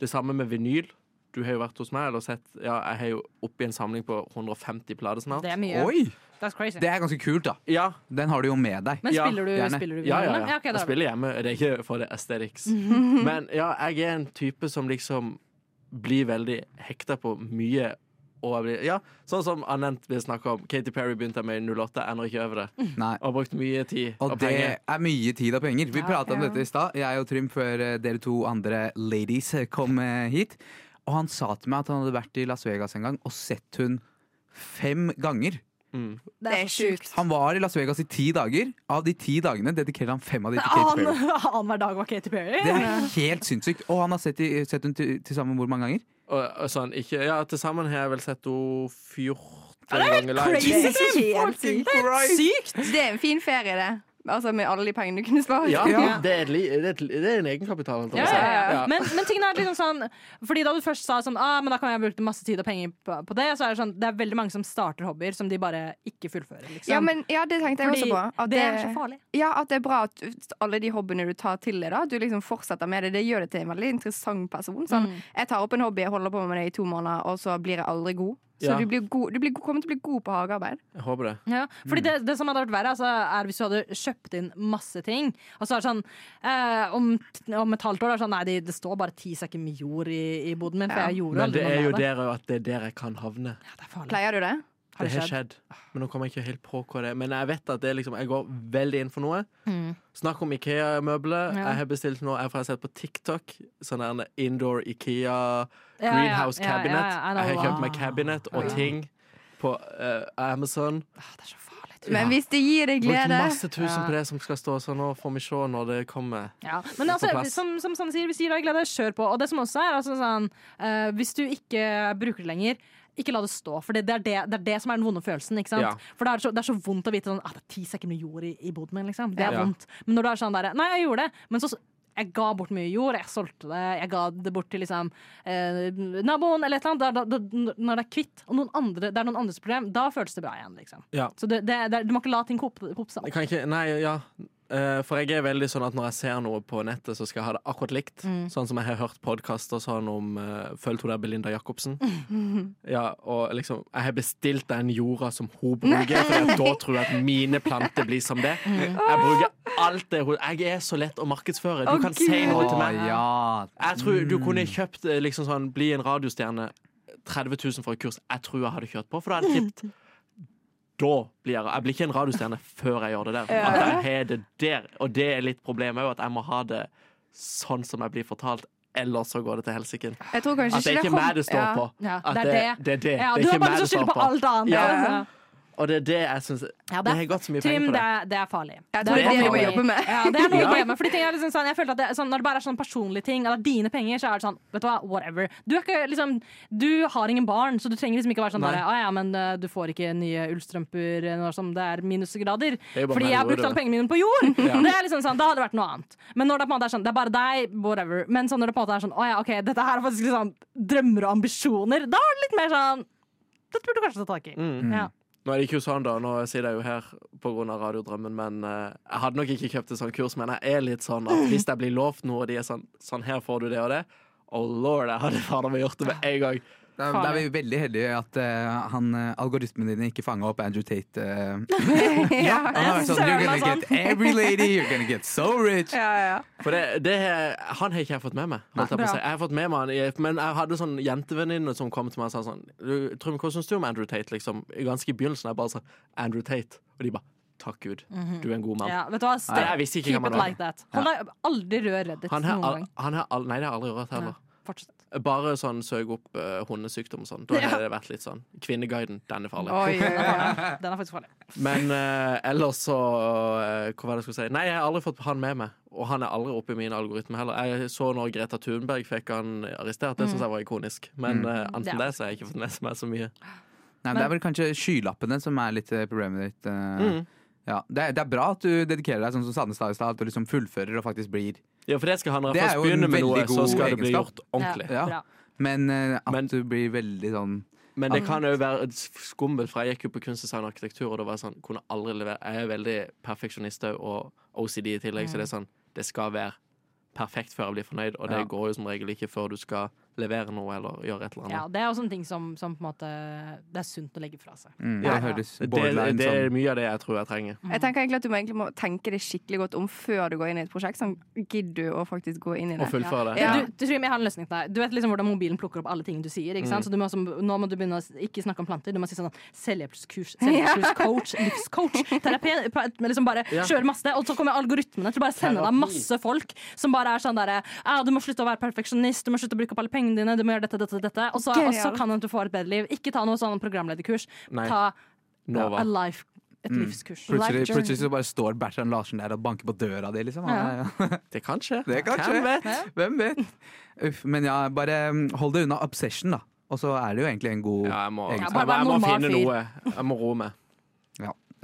Det samme med vinyl. Du har jo vært hos meg eller sett Ja, jeg har jo oppi en samling på 150 plater snart. Det er mye. Oi! That's crazy. Det er ganske kult, da. Ja, Den har du jo med deg. Men Ja, spiller du, gjerne. spiller ja, du ja. vinyl, ja. eller? ok, da- jeg spiller hjemme. Det er ikke for det aesthetics. Men ja, jeg er en type som liksom blir veldig hekta på mye. Og jeg blir, ja, sånn som Anent vil snakke om. Katy Perry begynte med i 08, ender ikke over det. Nei. Og har brukt mye tid og, Og det penger. er mye tid og penger. Vi prata om ja. dette i stad, jeg og Trym, før eh, dere to andre ladies eh, kom eh, hit. Og han sa til meg at han hadde vært i Las Vegas en gang og sett hun fem ganger. Det er sjukt. Han var i Las Vegas i ti dager. Av de ti dagene dedikerte han fem av de til Katy Perry. Annen annenhver dag var Katy Perry. Det er helt sinnssykt. Og han har sett, i- sett hun til, til sammen hvor mange ganger? Og, og sånn, ikke, ja, til sammen har jeg vel sett henne 14 ganger live. crazy. Det er helt sykt. Sykt! Det er en fin ferie, det. Altså med alle de pengene du kunne spart. Ja, Ja. det, er et, li- det, er et, li- det er en egenkapital. holdt jeg Ja, på å si. ja, ja. Ja. Men, men tingen er liksom sånn Fordi da du først sa sånn ah, men da kan jeg bruke masse tid og penger på, på det, så er det sånn Det er veldig mange som starter hobbyer som de bare ikke fullfører, liksom. Ja, men, ja, det tenkte jeg Fordi også på. At det er så farlig. Ja, at det er bra at alle de hobbyene du tar til deg, da, at du liksom fortsetter med det. Det gjør deg til en veldig interessant person. Sånn, Mm. Jeg tar opp en hobby, jeg holder på med det i to måneder, og så blir jeg aldri god. Så Ja. du, blir god, du blir, go- kommer til å bli god på hagearbeid. Jeg håper det. Ja, fordi det, det som hadde vært verre, altså, er hvis du hadde kjøpt inn masse ting, og så er det sånn eh, om, om et halvt år er det sånn Nei, det, det står bare ti sekker med jord i, i boden min, for jeg gjorde Men aldri det er jo noe med det. der jo at det er der jeg kan havne. Ja, det er farlig. Pleier du det? Har Det det har skjedd? skjedd. Men nå kommer jeg ikke helt på hva det er. Men jeg vet at det er liksom, jeg går veldig inn for noe. Mm. Snakk om Ikea-møbler. Ja. Jeg har bestilt noe jeg har sett på TikTok. Sånn der en indoor Ikea Ja, greenhouse ja, ja, ja, cabinet. ja, I know. Jeg har kjøpt meg cabinet og ting på eh, Amazon. Ah, det er så farlig. du. Men hvis det gir deg Brukt glede masse tusen Ja. på det som skal stå, så nå får vi se når det kommer. Ja. Men altså, plass. som, som Sanne sier, hvis det gir deg glede, kjør på. Og det som også er, altså, sånn, eh, hvis du ikke bruker det lenger, ikke la det stå. For det, det, er, det, det er det som er den vonde følelsen. Ikke sant? Ja. For det er, så, det er så vondt å vite sånn, at det er ti sekunder jord i, i boden min. Liksom. Det er Ja. vondt. Men når du er sånn der Nei, jeg gjorde det. Men så jeg ga bort mye jord, jeg solgte det, jeg ga det bort til liksom, eh, naboen eller et eller annet. Da, da, da, når det er kvitt, og noen andre, det er noen andres problem, da føles det bra igjen. Liksom. Ja. Så det, det, det, du må ikke la ting kope kope Jeg seg opp. sånn. kan ikke, nei, ja Eh, For jeg er veldig sånn at når jeg ser noe på nettet Så skal jeg ha det akkurat likt Mm. Sånn som jeg har hørt podcaster sånn om eh, Følg to der Belinda Jakobsen Ja, og liksom Jeg har bestilt den jorda som hun bruker For da tror jeg at mine planter blir som det Mm. Jeg bruker alt det hun Jeg er så lett å markedsføre Du Å, kan si Gud. noe til Å meg ja. Jeg tror du kunne kjøpt eh, liksom sånn Bli en radiostjerne 30 000 for et kurs Jeg tror jeg hadde kjørt på For da hadde jeg tippet Da blir jeg Jeg blir ikke en radiostjerne før jeg gjør det der At jeg har det der Og det er litt problemet også At jeg må ha det sånn som jeg blir fortalt Ellers så går det til helsikken Jeg tror kanskje At det er ikke kom- meg det står Ja. på Ja, At det er det. det, er det. Det Ja, er du har ikke bare meg lyst til å det skylde står på alt annet. Ja. altså. Og det er det jeg synes Ja, Det har gått så mye Tim, penger på det. det er- det er farlig. Jeg tror det er veldig det vi må farlig. jobbe med. Ja, det Ja. er noe vi må jobbe med. Fordi ting er liksom sånn, jeg følte at det, er sånn, Når det bare er sånn personlige ting, at det er dine penger, så er det sånn Vet du hva, whatever. Du, er ikke, liksom, du har ingen barn, så du trenger liksom ikke være sånn Nei. bare, «Å ja, men eh, du får ikke nye ullstrømper når som det er minusgrader. er jo bare Fordi mer jeg har jord, brukt alle det. pengene mine på jord! Ja. Det er liksom sånn, Da hadde det vært noe annet. Men når det på en måte er sånn, det er bare deg, whatever. Men sånn, når det på en måte er sånn, å ja, ok, dette her er faktisk liksom drømmer og ambisjoner, da er det litt mer sånn Dette burde du kanskje ta tak i. Mm. Ja. Nå er det ikke sånn da, nå sitter jeg jo her pga. radiodrømmen, men eh, jeg hadde nok ikke kjøpt et sånt kurs, men jeg er litt sånn at hvis jeg blir lovt noe, og de er sånn Sånn her får du det og det. Oh lord, jeg hadde fader meg gjort det med en gang. Da, da er vi veldig heldige at eh, han, eh, algoritmen din ikke fanga opp Andrew Tate. eh. Ja. han har vært sånn, Søren, you're gonna altså. get every lady, you're gonna get so rich. Ja, ja. For det, det har- han har ikke jeg fått med meg. Holdt jeg, på å si. jeg har fått med meg han, i- Men jeg hadde sånn jentevenninne som kom til meg og sa sånn «Du, Trym, hva syns du om Andrew Tate? Liksom, I ganske i begynnelsen jeg bare sa Andrew Tate. Og de bare Takk Gud, du er en god mann. Mhm. Ja, vet du hva? Stay, jeg visste ikke hva keep man it var. like that. Hold deg aldri rør Reddit Han har, noen al gang. han har al Nei, det har jeg aldri rørt heller. Ja, fortsett. Bare sånn søk opp eh, hundesykdom og sånn. Da har det vært litt sånn. Kvinneguiden, den er farlig. Oi, oi, oi. Den er faktisk farlig. Men eh, ellers så eh, Hva var det jeg skulle si? Nei, jeg har aldri fått han med meg. Og han er aldri oppe i min algoritme heller. Jeg så når Greta Thunberg fikk han arrestert. Det syns jeg var ikonisk. Men Mm. eh, Ja. anten det så har jeg ikke fått med meg så mye. Nei, men det er vel kanskje skylappene som er litt eh, problemet ditt. eh. Mm. Ja, det, er, det er bra at du dedikerer deg sånn som Sandnes sa i stad, at du liksom fullfører og faktisk blir. Ja, for det skal han når Det jeg er jo først en begynner med noe, veldig så god skal det bli egenskap. gjort ordentlig. Ja. Bra. Men eh, at Men- du blir veldig sånn Men det kan jo være skummelt, for jeg gikk jo på kunstdesign og arkitektur, og da var jeg sånn Kunne aldri levere Jeg er veldig perfeksjonist òg, og OCD i tillegg, så det er sånn Det skal være perfekt før jeg blir fornøyd, og det Ja. går jo som regel ikke før du skal levere noe eller gjøre et eller Ja, annet. det er også en ting som, som på en måte Det er sunt å legge fra seg. mm, Det Ja. høres Det, borderline det er sånn mye av det jeg tror jeg trenger. Jeg tenker egentlig at Du må egentlig må tenke det skikkelig godt om før du går inn i et prosjekt. Sånn, Gidder du å faktisk gå inn i Å det? fullføre det. Ja. Men Du, du, Trym, jeg har en løsning til deg. Du vet liksom hvordan mobilen plukker opp alle ting du sier. Ikke sant? Mm. Så du må også, nå må du begynne å s- ikke snakke om planter. Du må si sånn selvhjelpskurs, selvhjelpskurs, livscoach, terapi. pa- Liksom bare Ja. kjøre masse. Og så kommer algoritmene til å bare sende deg Terapi. masse folk som bare er sånn derre «Ah, Du må slutte å være perfeksjonist, du må slutte å bruke opp alle pengene dine, du må gjøre dette, dette, dette. Og så, og så Genial. kan det at du får et bedre liv. Ikke ta noe sånn programlederkurs. Nei. Ta Nova. Mm. a life, et livskurs. sånn Plutselig, Life journey. plutselig så bare står Bertrand Larsen der og banker på døra di, liksom. Ja. Ja, ja. Det kan skje. Det kan skje. Hvem vet? Hvem vet? Uff, men ja, bare mm, hold deg unna obsession, da. Og så er det jo egentlig en god Ja, jeg må, Ja, jeg, bare må, vær jeg må normal finne fyr. noe. Jeg må roe meg.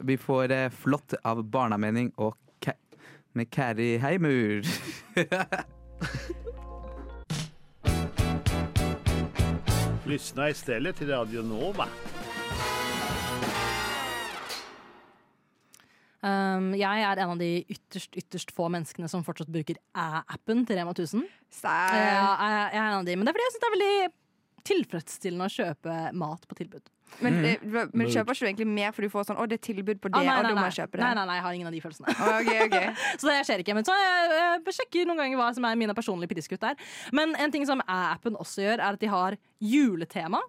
Vi får eh, flott av barnamening og med Kari Heimur. Lyssna istället till Radio Nova. Um, jeg er en av de ytterst, ytterst få menneskene som fortsatt bruker æ-appen til Rema 1000. Eh, Stær. jeg jeg er en av de, men det er fordi jeg syns det er veldig tilfredsstillende å kjøpe mat på tilbud. Men, Mm. eh, men du kjøper ikke du egentlig mer, for du får sånn 'Å, det er tilbud på det, Ah, nei, og nei, da må nei. jeg kjøpe det'. Nei, nei, nei, jeg har ingen av de følelsene. Å, ok, ok. Så det skjer ikke. Men så jeg, jeg sjekker noen ganger hva som er mine personlige pitteskutt der. Men en ting som appen også gjør, er at de har juletema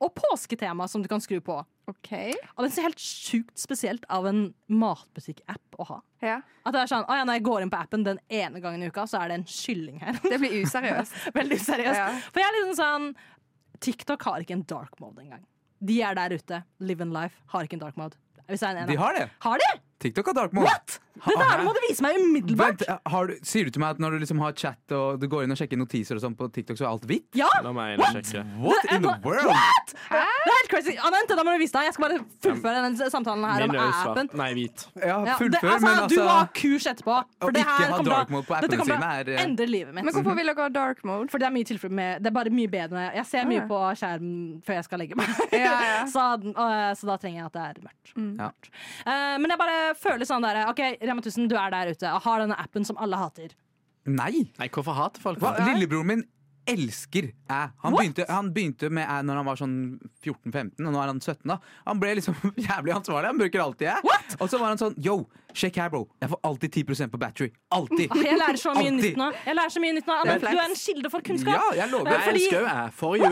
og påsketema som du kan skru på. Ok. Og det er så helt sjukt spesielt av en matbutikk-app å ha. Ja. At det er sånn, «Å ja, Når jeg går inn på appen den ene gangen i uka, så er det en kylling her. Det blir useriøst. Veldig seriøst. Ja. For jeg er liksom sånn TikTok har ikke en dark mode engang. De er der ute. Live and life har ikke en dark mode. Hvis det er en De har det. Har de? TikTok og Dark Mode. What? Det der må du vise meg umiddelbart! Vent, har du, sier du til meg at når du liksom har chat og du går inn og sjekker notiser og sånn på TikTok, så er alt hvitt? Ja! La meg inn og sjekke. What Det er in the bare- world? What? Det er helt crazy. Anette, da må du vise deg. Jeg skal bare fullføre den samtalen her om Min er jo svart. appen. Nei, hvit. Ja, Ja, fullfør, det, altså, men Du må ha altså kurs etterpå. For Å det ikke her ha kommer til å- dark mode på dette appene kommer til sine å er, eh, endre livet mitt. Men hvorfor vil dere ha dark mode? For det er mye tilfelle med Det er bare mye bedre. Jeg ser mye på skjermen før jeg skal legge meg. Ja, ja. så, øh, så da trenger jeg at det er mørkt. Ja. Mørkt. Eh, men jeg bare føler sånn der OK, Rema 1000, du er der ute og har denne appen som alle hater. Nei! Nei, hvorfor hater folk Hva? det? Lillebroren min elsker æ. Han, begynte- han begynte med æ når han var sånn 14-15, og nå er han 17. da Han ble liksom jævlig ansvarlig. Han bruker alltid æ. Og så var han sånn yo, sjekk her, bro. Jeg får alltid 10 på battery. Alltid. Jeg lærer så mye Alltid. nytt nå. Jeg lærer så mye nytt nå Det Anette, er Du er flex. en kilde for kunnskap. Ja, jeg Nei, lover. Nei, fordi- jeg elsker jo jeg. Forrige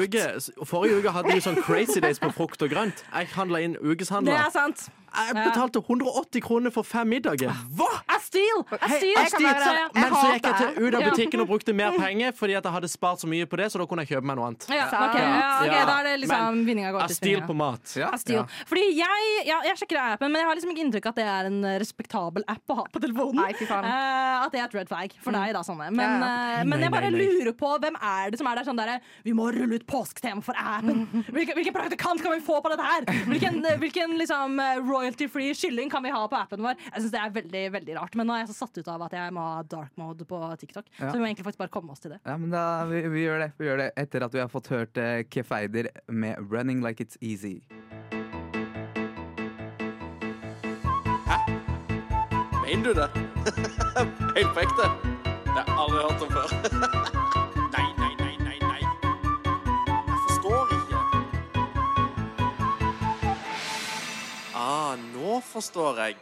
uke, forrige uke hadde vi sånn crazy days på frukt og grønt. Jeg handla inn Det er ukeshandler. sant. Jeg betalte 180 kroner for fem middager. Hva?! Jeg steal! Jeg steal! jeg kan være Så der. jeg- Men så hater gikk jeg til, ut av Ja. butikken og brukte mer penger fordi at jeg hadde spart så mye på det, så da kunne jeg kjøpe meg noe annet. Ja, ok, ja, ok, Ja, Da er det liksom men vinninga går Jeg til stil svinninga. på mat. Ja, Jeg stil. Fordi jeg, ja, jeg sjekker appen, men jeg har liksom ikke inntrykk at det er en eh, respektabel app å ha på telefonen. Nei, fy faen. Eh, at det er et red flag for deg, da, Sanne. Men, Ja, eh, men jeg Nei, bare nei, nei. lurer på hvem er det som er der sånn derre Vi må rulle ut påsketema for appen! Hvilken, hvilken praktikant kan vi få på dette her? Hvilken, eh, hvilken liksom, eh, royalty-free kylling kan vi ha på appen vår? Jeg syns det er veldig veldig rart. Men nå er jeg så satt ut av at jeg må ha dark mode på TikTok. Ja. Så vi må egentlig faktisk bare komme oss til det. Ja, men da, vi, vi gjør det. Vi gjør det etter at vi har fått hørt uh, Kefeider med 'Running Like It's Easy'. Mener du det? Helt på ekte? Det har jeg aldri hørt om før. Nei, nei, nei, nei, nei. Jeg forstår ikke. Ah, nå forstår jeg.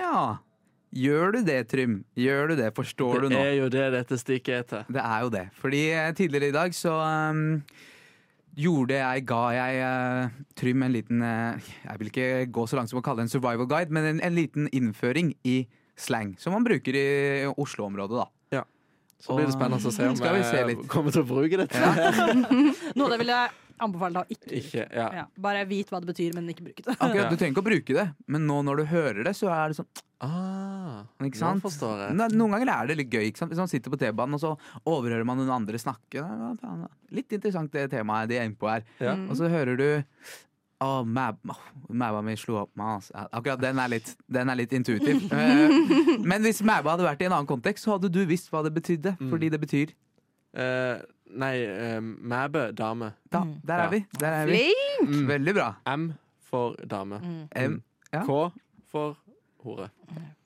Ja. Gjør du det, Trym? Gjør du det? Forstår du Det nå? er jo det dette stikket er til. Det er jo det. Fordi eh, tidligere i dag så um, gjorde jeg, ga jeg eh, Trym en liten eh, Jeg vil ikke gå så langt som å kalle det en survival guide, men en, en liten innføring i slang. Som man bruker i Oslo-området, da. mm, Så blir det spennende å se om eh, Skal vi se jeg litt? kommer til å bruke dette. Noe av det vil jeg anbefale deg å ikke Ikke, ja. ja, Bare vit hva det betyr, men ikke bruk det. Akkurat, Ja. Du trenger ikke å bruke det, men nå når du hører det, så er det sånn Ah, Ikke sant? Nå forstår jeg. Nei, Noen ganger er det litt gøy. Ikke sant? Hvis man sitter på T-banen og så overhører man noen andre snakke. Ja, faen, Litt interessant det temaet de er inne på her. Ja. Og så hører du Å, mæb- åh, mæba mi slo opp med hans Akkurat den er litt, den er litt intuitiv. Eh, Men hvis mæba hadde vært i en annen kontekst, så hadde du visst hva det betydde. Fordi det betyr Eh, nei, eh, mæbe dame. da, Der er vi. Der er vi. Veldig bra. M for dame. Em, Ja. K for hore.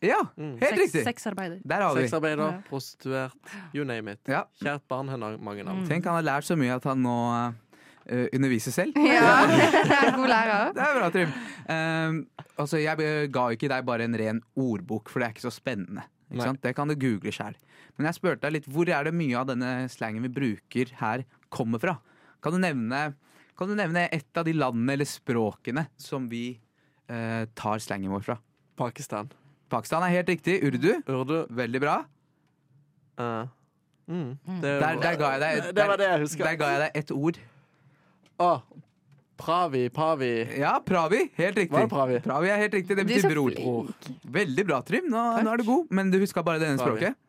ja, helt Sex- riktig. Sexarbeider. Der har vi. Sexarbeider, prostituert, you name it. Ja. Kjært barn har mange navn. Tenk, han har lært så mye at han nå eh, underviser selv. Ja, det er en god lærer. Det er bra, Trym. Ehm, altså, jeg eh, ga jo ikke deg bare en ren ordbok, for det er ikke så spennende. Ikke Nei. sant? Det kan du google sjøl. Men jeg spurte deg litt hvor er det mye av denne slangen vi bruker her, kommer fra. Kan du nevne, kan du nevne et av de landene eller språkene som vi eh, tar slangen vår fra? Pakistan. Pakistan er helt riktig. Urdu. Urdu. Veldig bra. eh, mm. det, Eh, Der, der ga jeg deg Det var det jeg husker. Der ga jeg deg ett ord. Å, pravi, pravi. Ja, pravi. Helt riktig. Var det pravi? Pravi er helt riktig. Det Du er så betyr bror. Bror. Veldig bra, Trym. Nå, nå er du god. Men du huska bare det ene Pravi. språket?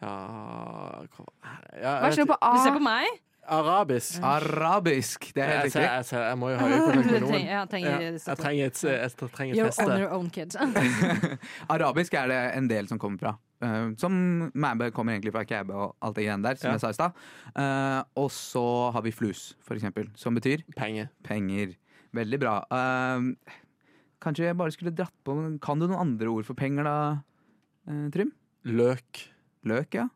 Ja, hva- ja, Var jeg vet- ikke noe på Du ser A? på meg. arabisk. Arabisk. Det er Jeg, helt ser- riktig. jeg, ser- jeg må jo ha øye på Jeg økonomien. trenger, jeg Ja, trenger, jeg trenger et, jeg trenger et You're on feste. your own kid. Arabisk er det en del som kommer fra. Eh, som Mæbø kommer egentlig fra Kæbø og alt det greiene der, som Ja. jeg sa i stad. Eh, og så har vi flus, for eksempel, som betyr Penger. penger. Veldig bra. Eh, kanskje jeg bare skulle dratt på Kan du noen andre ord for penger, da, eh, Trym? Løk. Løk, ja.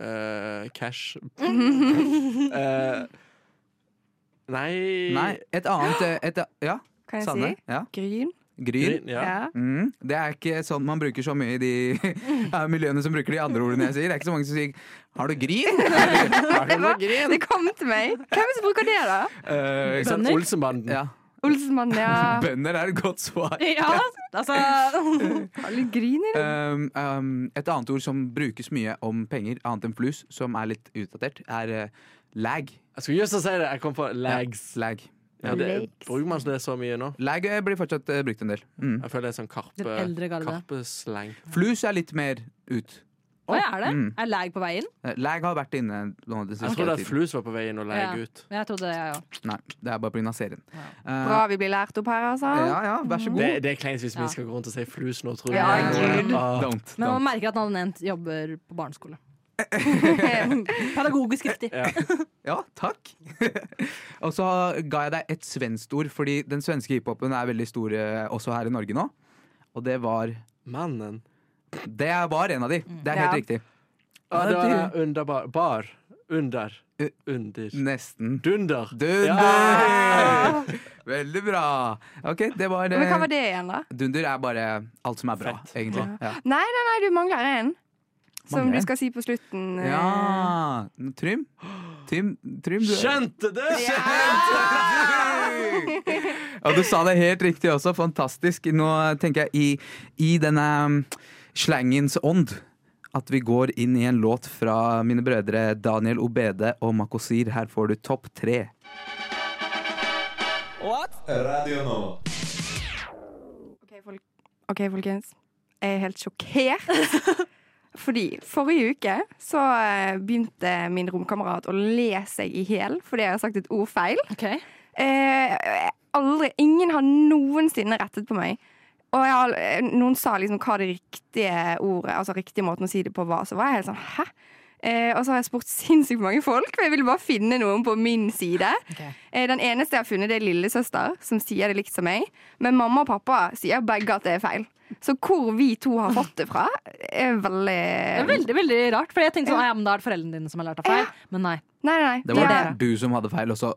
eh, cash. Eh, nei Nei, et annet eh, et, Ja, Kan jeg Sanne? Ja. si? Gryn. Gryn. Gryn, Ja. Mm, det er ikke sånn man bruker så mye i de eh, miljøene som bruker de andre ordene jeg sier. Det er ikke så mange som sier 'har du gryn'? Det, var, det kom til meg. Hvem er det som bruker det, da? Eh, Ikke sant? Bønder? Olsenbanden. ja. Olsenmann, ja. Bønder er et godt svar. ja, altså Har du gryn i det? Um, um, et annet ord som brukes mye om penger, annet enn flus, som er litt utdatert, er eh, lag. Jeg skulle just til å si det. Jeg kom på lags. Lag. Ja, det, bruker man ikke det så mye nå? Lag eh, blir fortsatt eh, brukt en del. Mm. Jeg føler det er sånn Den karpe eldre garde. karpesleng. Flus er litt mer ut. Hva er det? Mm. Er lag på veien? Eh, Lag har vært inne nå den Jeg siste trodde at tiden. flus var på vei inn og Ja. leie ut. Jeg trodde det, jeg òg. Nei, det er bare pga. serien. Eh, Bra vi blir lært opp her, altså. ja, ja, vær så god. Det, det er kleint hvis Ja. vi skal gå rundt og si flus nå, tror jeg. Ja, Gud. Ah. Don't, Men man don't. merker at Nanent jobber på barneskole. Pedagogisk riktig. Ja, takk. og så ga jeg deg et svensk ord, fordi den svenske hiphopen er veldig stor eh, også her i Norge nå. Og det var Mannen. Det var en av de. Det er Ja. helt riktig. Ja, Ja, det var det- det. underbar. Bar. Under. U- Under. Nesten. Dunder. Dunder! Ja. Veldig bra. Ok, det var eh, Men hva var det igjen, da? Dunder er bare alt som er bra, Fett. egentlig. Ja. Nei, nei, nei, du mangler en. Som Mangler du en? skal si på slutten. eh. Ja. Trym? Trym, Trym du Skjønte det! Ja, du sa det helt riktig også. Fantastisk. Nå tenker jeg i, i denne um, slangens ånd at vi går inn i en låt fra mine brødre Daniel Obede og Makosir. Her får du Topp tre. Ok, folk. ok, folkens. Jeg er helt sjokkert. Fordi forrige uke så eh, begynte min romkamerat å le seg i hjel fordi jeg har sagt et ord feil. Ok. Eh, jeg- aldri, ingen har noensinne rettet på meg. Og jeg, har- eh, noen sa liksom hva det riktige ordet, altså riktig måten å si det på var, så var jeg helt sånn hæ? Eh, og så har jeg spurt sinnssykt mange folk, for jeg ville bare finne noen på min side. Ok. Eh, den eneste jeg har funnet, det er lillesøster, som sier det likt som meg. Men mamma og pappa sier begge at det er feil. Så hvor vi to har fått det fra, er Det er veldig veldig veldig rart. For jeg tenkte sånn, «Ah, ja, men Da er det foreldrene dine som har lært deg feil. Men nei. Nei, nei. Det vi var har- du som hadde feil, og så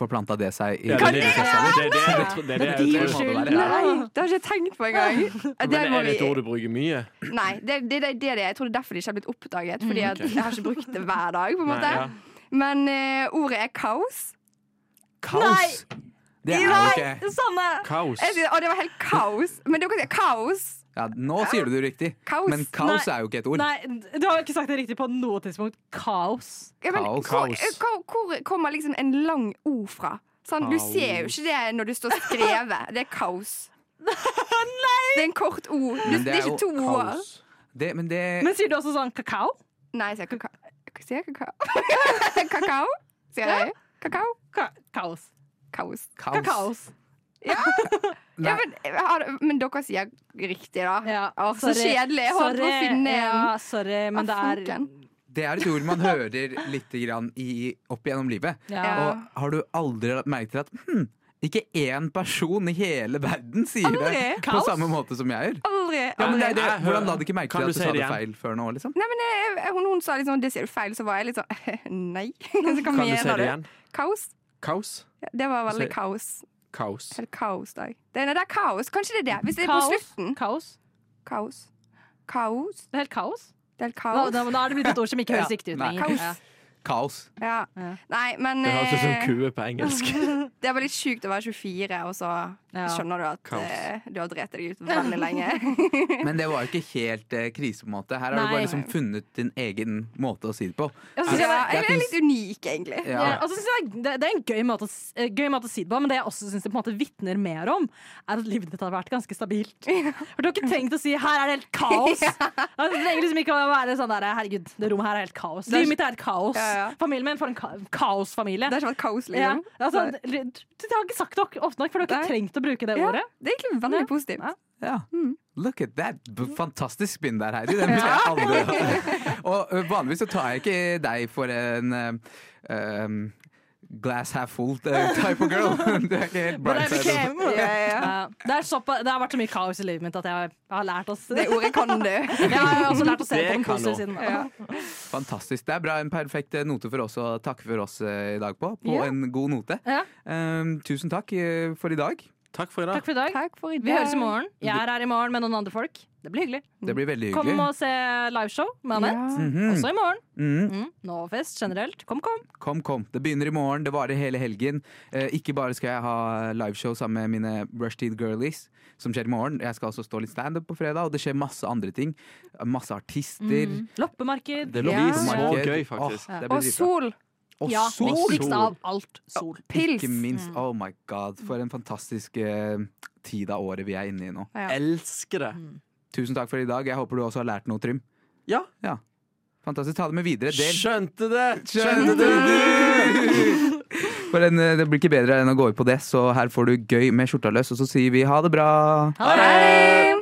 forplanta det seg i Ja, det er det jeg tror- det er det jeg tror- det er det jeg din tror det må skyld. være. Nei, det har jeg ikke tenkt på engang. Det Men må er det et vi- ord du bruker mye? Nei, det, det, det, det er det. Jeg tror det er derfor det ikke har blitt oppdaget. Fordi at Mm, ok. jeg har ikke brukt det hver dag. på en Nei, måte ja. Men eh, ordet er kaos. Kaos! Det er jo ikke Sanne! Kaos. Jeg sier, å, det var helt kaos. Men dere sier kaos. ja, Nå sier du det riktig, Kaos. men kaos Nei. er jo ikke et ord. Nei, Du har ikke sagt det riktig på noe tidspunkt. Kaos. Ja, men, Kaos. Hvor, Kaos. eh, hvor, hvor kommer liksom en lang O fra? Sånn, du Kaos. ser jo ikke det når du står skrevet. Det er kaos. Det er en kort O. Du, det, Men det er er ikke jo to O-er. Kaos. Det, men det Eh. Men sier du også sånn kakao? Nei, jeg sier kakao. Sier jeg kakao? kakao, sier jeg. Kakao. Ka kaos. Kaos. kaos. Kakaos. Ja, men, eh, har, men dere sier riktig, da. Ja, Å, så sorry. kjedelig. Jeg holdt på å Sorry. finne en. Ja, sorry, men det Ah, er funken. Det er et ord man hører litt grann i, opp gjennom livet. ja. Ja. Og har du aldri lagt merke til at hm, ikke én person i hele verden sier det Aldri. på Kaos. samme måte som jeg gjør? Aldri. Ja, men det er det. Jeg hører- Hvordan la du ikke merke Kan til du at du si sa det det igjen? feil før nå? liksom? Nei, men eh, jeg, hun, hun sa liksom 'det sier du feil', så var jeg litt sånn Nei. Så hva Kan du si mener det igjen? Kaos. Kaos. Ja, det var veldig Si- kaos. Kaos. Helt kaosdag. Det, er- nei, det er kaos. Kanskje det er det. Hvis det er på Kaos. slutten. kaos. Kaos. Kaos. Det er helt kaos. Det er helt Da, kaos. da, da er det blitt et ord som ikke høres Ja. riktig ut Nei. lenger. Kaos. Ja. Kaos. Ja. Ja. Nei, men Det høres ut som eh, kue på engelsk. det er bare litt sjukt å være 24, og så Ja. skjønner du at Kaos. eh, du har drept deg ut veldig lenge. Men det var jo ikke helt eh, krise, på en måte. Her har Nei. du bare liksom funnet din egen måte å si det på. Jeg synes Ja, det, jeg er litt unik, egentlig. ja. og så synes jeg det, det er en gøy måte, å, s- eh, gøy måte å si det på, men det jeg også syns det på en måte vitner mer om, er at livet ditt har vært ganske stabilt. For Du har ikke trengt å si 'her er det helt kaos'. Altså, Det trenger liksom ikke å være sånn der 'herregud, det rommet her er helt kaos'. Livet mitt er helt kaos. Ja, ja. Familien min for en ka kaosfamilie. Det har ikke vært kaos, Ja, liksom. altså, Nei. du, du har ikke sagt det nok- ofte nok, for du har ikke Nei. trengt å bruke det Altså, Ja, ordet. det er egentlig veldig Nei. positivt. Nei. Ja. Look at that. B- Mm. Fantastisk spinn der, Heidi. Den brukte jeg aldri. Og ø, vanligvis så tar jeg ikke deg for en ø, ø, glass half full ø, type of girl. Du er ikke helt I bright-sided. became- Ja, ja, ja. Ja, det, er såpa, det har vært så mye kaos i livet mitt at jeg har- jeg har lært oss Det ordet kan du. Jeg har også lært å se Det på kan den positive du. siden. Ja. Fantastisk. Det er bra. En perfekt ø, note for oss å takke for oss ø, i dag på. På Ja. en god note. Ja. Ehm, tusen takk ø, for i dag. Takk for i dag. Takk for i dag. Takk for i dag. Vi høres i morgen. Jeg er her i morgen med noen andre folk. Det blir hyggelig. Det blir veldig Mm. Kom hyggelig. og se liveshow med Anette. Ja. Mhm. Også i morgen. Mhm. Mm. Novafest generelt. Kom, kom. Kom, kom. Det begynner i morgen, det varer hele helgen. Eh, ikke bare skal jeg ha liveshow sammen med mine Rushtid Girlies, som skjer i morgen. Jeg skal også stå litt standup på fredag, og det skjer masse andre ting. Masse artister. Mm. Loppemarked. Det blir Ja. så marked. gøy, faktisk. Åh, det blir Og dritbra. sol. Og Ja, sol! viktigst av alt sol. Pils. Ikke minst. Oh my god, for en fantastisk eh, tid av året vi er inne i nå. Ja. Elsker det. Tusen takk for i dag. Jeg håper du også har lært noe, Trym. Ja. Fantastisk. Ta det med videre. Del. Skjønte det! Skjønte du? For en, eh, det blir ikke bedre enn å gå ut på det, så her får du gøy med skjorta løs, og så sier vi ha det bra. Ha det!